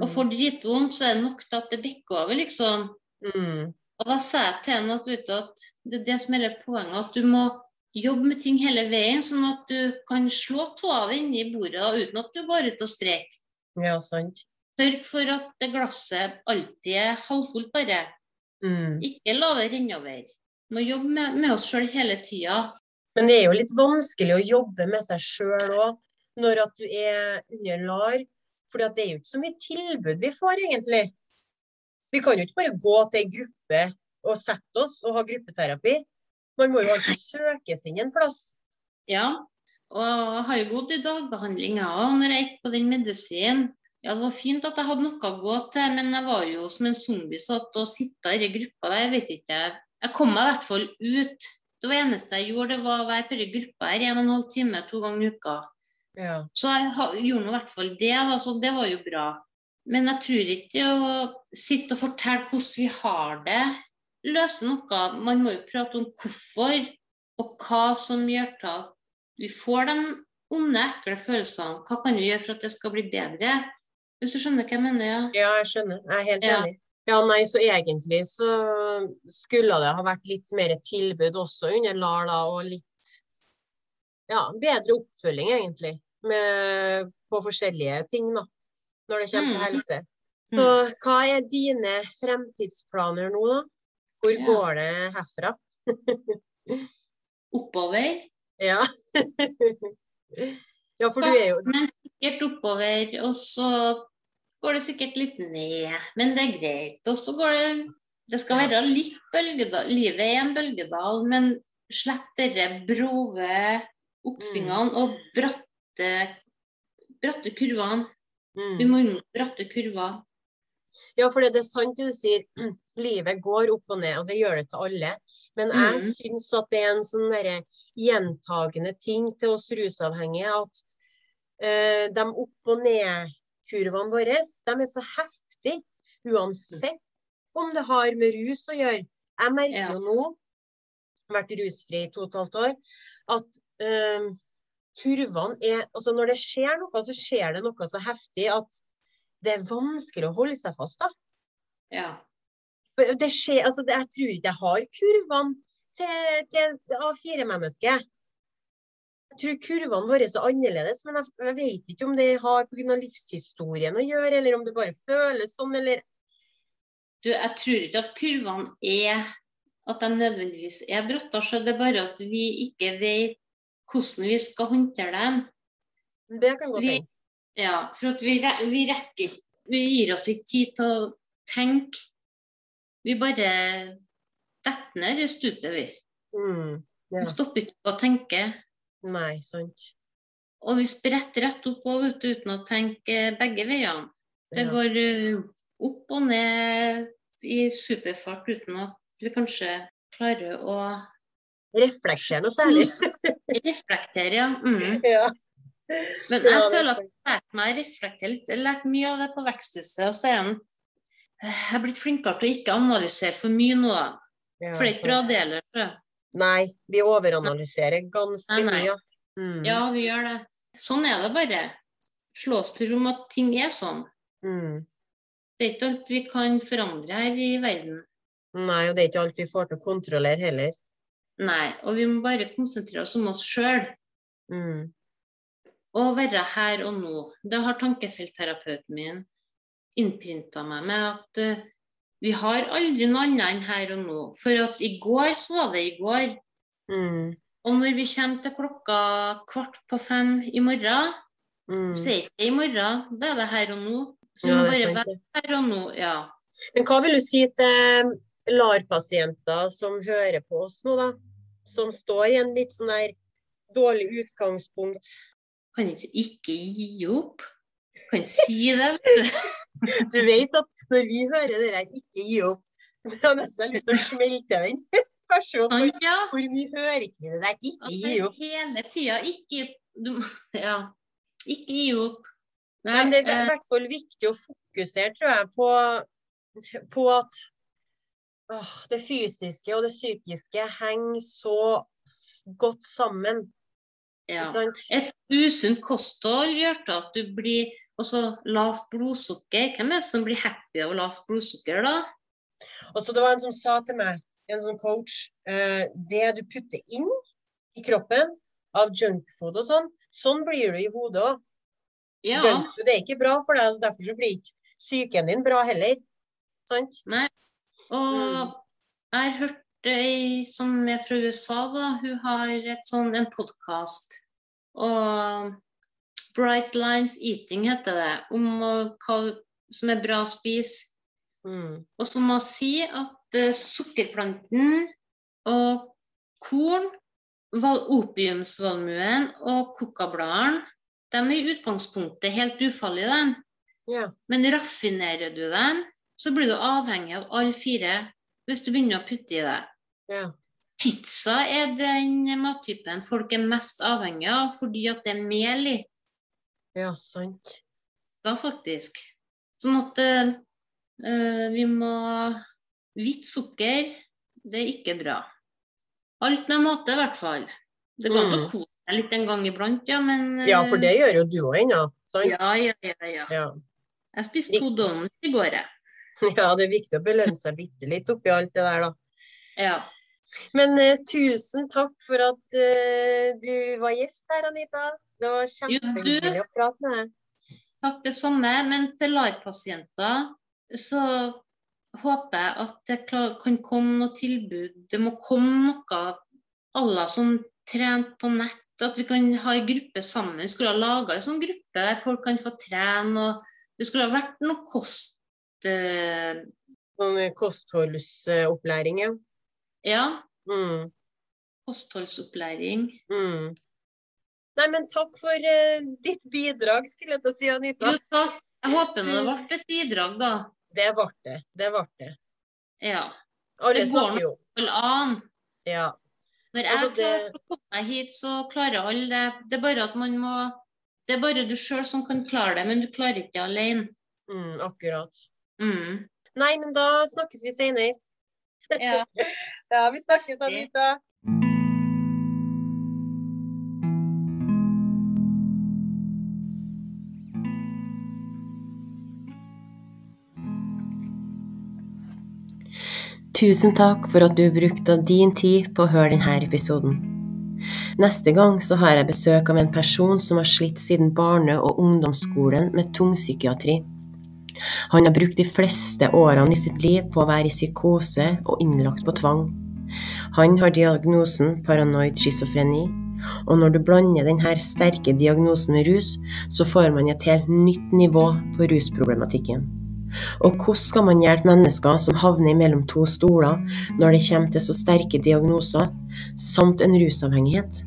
B: og får dritvondt, så er det nok til at det bikker over, liksom.
A: Mm.
B: Og da sa jeg til henne at, vet du, at det er det som er hele poenget, at du må jobbe med ting hele veien, sånn at du kan slå tåa di inni bordet da, uten at du går ut og spreker.
A: Ja, sant.
B: Sørg for at det glasset alltid er halvfullt, bare.
A: Mm.
B: Ikke la det renne over. Må jobbe med, med oss sjøl hele tida.
A: Men det er jo litt vanskelig å jobbe med seg sjøl òg, når at du er under LAR. For det er jo ikke så mye tilbud vi får, egentlig. Vi kan jo ikke bare gå til ei gruppe og sette oss og ha gruppeterapi. Man må jo alltid søkes inn en plass.
B: Ja. Og jeg har jo gått i dagbehandling, jeg òg, når jeg gikk på den medisinen. Ja, det var fint at jeg hadde noe å gå til, men jeg var jo som en zombie satt og sitta i den gruppa der, jeg vet ikke. Jeg kom meg i hvert fall ut. Det var eneste jeg gjorde, det var å være på den gruppa her en og en halv time to ganger i uka.
A: Ja.
B: Så jeg ha- gjorde nå i hvert fall det, da, så det var jo bra. Men jeg tror ikke å sitte og fortelle hvordan vi har det, løser noe. Man må jo prate om hvorfor, og hva som gjør til at vi får de onde, ekle følelsene. Hva kan vi gjøre for at det skal bli bedre? Hvis du skjønner hva jeg mener, ja.
A: Ja, jeg skjønner. Jeg er helt
B: Ja.
A: enig. Ja, nei, så egentlig så skulle det ha vært litt mer tilbud også under LAR, da, og litt Ja, bedre oppfølging, egentlig, med, på forskjellige ting, da, når det kommer til
B: Mm.
A: helse. Så hva er dine fremtidsplaner nå, da? Hvor
B: Ja.
A: går det herfra?
B: Oppover.
A: Ja. ja, for du er jo
B: Sakte, men sikkert oppover, og så går det sikkert litt ned. Men det er greit. Og så går det Det skal være litt bølgedal. Livet er en bølgedal, men slipp dere brå
A: Mm.
B: oppsvingene og bratte, bratte kurvene.
A: Mm.
B: Vi må unngå bratte kurver.
A: Ja, for det er sant det du sier. Livet går opp og ned, og det gjør det til alle. Men jeg
B: Mhm.
A: syns at det er en sånn derre gjentagende ting til oss rusavhengige at eh, de opp- og nedkurvene våre, de er så heftige uansett om det har med rus å gjøre. Jeg merker
B: Ja.
A: jo nå, vært rusfri i to og et halvt år, at eh, kurvene er Altså når det skjer noe, så skjer det noe så heftig at det er vanskelig å holde seg fast, da.
B: Ja.
A: For Det skjer, altså, det, jeg tror ikke jeg har kurvene til, til et A4-menneske. Jeg tror kurvene våre er annerledes, men jeg, jeg vet ikke om det har pga. livshistorien å gjøre, eller om det bare føles sånn, eller
B: Du, jeg tror ikke at kurvene er at de nødvendigvis er bratte, så det er bare at vi ikke vet hvordan vi skal håndtere dem.
A: Det kan godt
B: Vi-
A: hende.
B: Ja, for at vi, re- vi rekker ikke Vi gir oss ikke tid til å tenke. Vi bare detter ned i stupet, vi.
A: Mm,
B: Vi
A: Ja.
B: stopper ikke å tenke.
A: nei, sant.
B: Og vi spretter rett opp og ut uten å tenke begge veiene. Det
A: Ja.
B: går uh, opp og ned i superfart uten at du kanskje klarer å
A: Reflektere noe særlig.
B: reflektere. Ja. Mm.
A: ja.
B: Men jeg føler at jeg har lært meg å reflektere litt. Jeg har lært mye av det på Veksthuset. Og så er jeg en- jeg er blitt flinkere til å ikke analysere for mye nå, da.
A: Ja,
B: For det er ikke
A: så-
B: bra det heller. tror jeg.
A: Nei, vi overanalyserer ganske
B: Nei, nei.
A: mye. Mm.
B: Ja, vi gjør det. Sånn er det bare. Slå oss til ro med at ting er sånn.
A: Mm.
B: Det er ikke alt vi kan forandre her i verden.
A: Nei, og det er ikke alt vi får til å kontrollere heller.
B: Nei. Og vi må bare konsentrere oss om oss sjøl.
A: Mm.
B: Å være her og nå. Det har tankefeltterapeuten min innprinta meg med at eh, vi har aldri noe annet enn her og nå. For at i går så var det i går.
A: Mm.
B: Og når vi kommer til klokka kvart på fem i morgen,
A: Mm.
B: så er det ikke i morgen. Da er det her og nå. Så vi
A: Ja,
B: må
A: det er
B: bare
A: sant,
B: være
A: det.
B: her og nå. Ja.
A: Men hva vil du si til LAR-pasienter som hører på oss nå, da? Som står i en litt sånn der dårlig utgangspunkt.
B: Kan ikke, ikke gi opp. Kan ikke si det. vet du.
A: Du vet at når vi hører det der 'ikke gi opp', det er nesten litt å smelte den personen. for
B: Sant, ja.
A: Hvor mye hører ikke vi det der 'ikke
B: At
A: gi
B: det
A: opp'?
B: hele tida ikke du, Ja. Ikke gi opp. Nei,
A: Men det er i
B: eh,
A: hvert fall viktig å fokusere, tror jeg, på, på at åh, det fysiske og det psykiske henger så godt sammen.
B: eh, ja.
A: Ikke sant?
B: Et usunt kosthold gjør til at du blir også lavt blodsukker. Hvem er det som blir happy av lavt blodsukker, da?
A: Og så det var en som sa til meg, en sånn coach, eh, det du putter inn i kroppen av junkfood og sånn, sånn blir du i hodet òg.
B: Ja.
A: Junkfood er ikke bra for deg, så derfor så blir ikke psyken din bra heller. Sant?
B: Og
A: Mm.
B: jeg har hørt ei som er fra USA, da. Hun har et sånn, en podkast. Og Bright Lines Eating heter det. Om å- hva som er bra å spise.
A: Mm.
B: Og så må jeg si at eh, sukkerplanten og korn, val- opiumsvalmuen og kokabladene, de er i utgangspunktet helt ufarlige, dem.
A: Ja.
B: Men raffinerer du dem, så blir du avhengig av alle fire hvis du begynner å putte i det.
A: Ja.
B: Pizza er den mattypen folk er mest avhengig av fordi at det er mel i
A: ja, sant.
B: da, faktisk. Sånn at eh, vi må Hvitt sukker, det er ikke bra. Alt med måte, i hvert fall. Det går an å
A: Mm.
B: kose seg litt en gang iblant, ja, men eh,
A: Ja, for det gjør jo du òg ennå. Sant?
B: Ja, ja, ja, ja.
A: Ja.
B: Jeg spiste to donuts i går, jeg.
A: ja, det er viktig å belønne seg bitte litt oppi alt det der, da.
B: Ja.
A: Men eh, tusen takk for at eh, du var gjest her, Anita. Det var
B: du-
A: kjempehyggelig å prate med deg.
B: Takk, det samme. Men til LAR-pasienter så håper jeg at det kla- kan komme noe tilbud. Det må komme noe alle som trent på nett, at vi kan ha ei gruppe sammen. Vi skulle ha laga ei sånn gruppe der folk kan få trene. og Det skulle ha vært noe kost... eh,
A: Sånn eh, kostholdsopplæring, ja.
B: ja,
A: Mm,
B: kostholdsopplæring.
A: mm. Nei, men takk for eh, ditt bidrag, skulle jeg til å si,
B: Jo,
A: Anita.
B: takk. Jeg håper nå det ble et bidrag, da.
A: Det ble det. Det ble det.
B: Ja.
A: Alle
B: Det går nok.
A: snakker jo.
B: Vel an.
A: Ja.
B: Når jeg
A: Altså, det-
B: klarer å komme meg hit, så klarer alle det. Det er bare at man må Det er bare du sjøl som kan klare det, men du klarer ikke det alene.
A: Mm, akkurat.
B: Mm.
A: Nei, men da snakkes vi senere.
B: Ja.
A: Ja, vi snakkes, Anita.
C: Tusen takk for at du brukte av din tid på å høre denne episoden. Neste gang så har jeg besøk av en person som har slitt siden barne- og ungdomsskolen med tung psykiatri. Han har brukt de fleste årene i sitt liv på å være i psykose og innlagt på tvang. Han har diagnosen paranoid schizofreni, og når du blander denne sterke diagnosen med rus, så får man et helt nytt nivå på rusproblematikken. Og hvordan skal man hjelpe mennesker som havner mellom to stoler når det kommer til så sterke diagnoser, samt en rusavhengighet?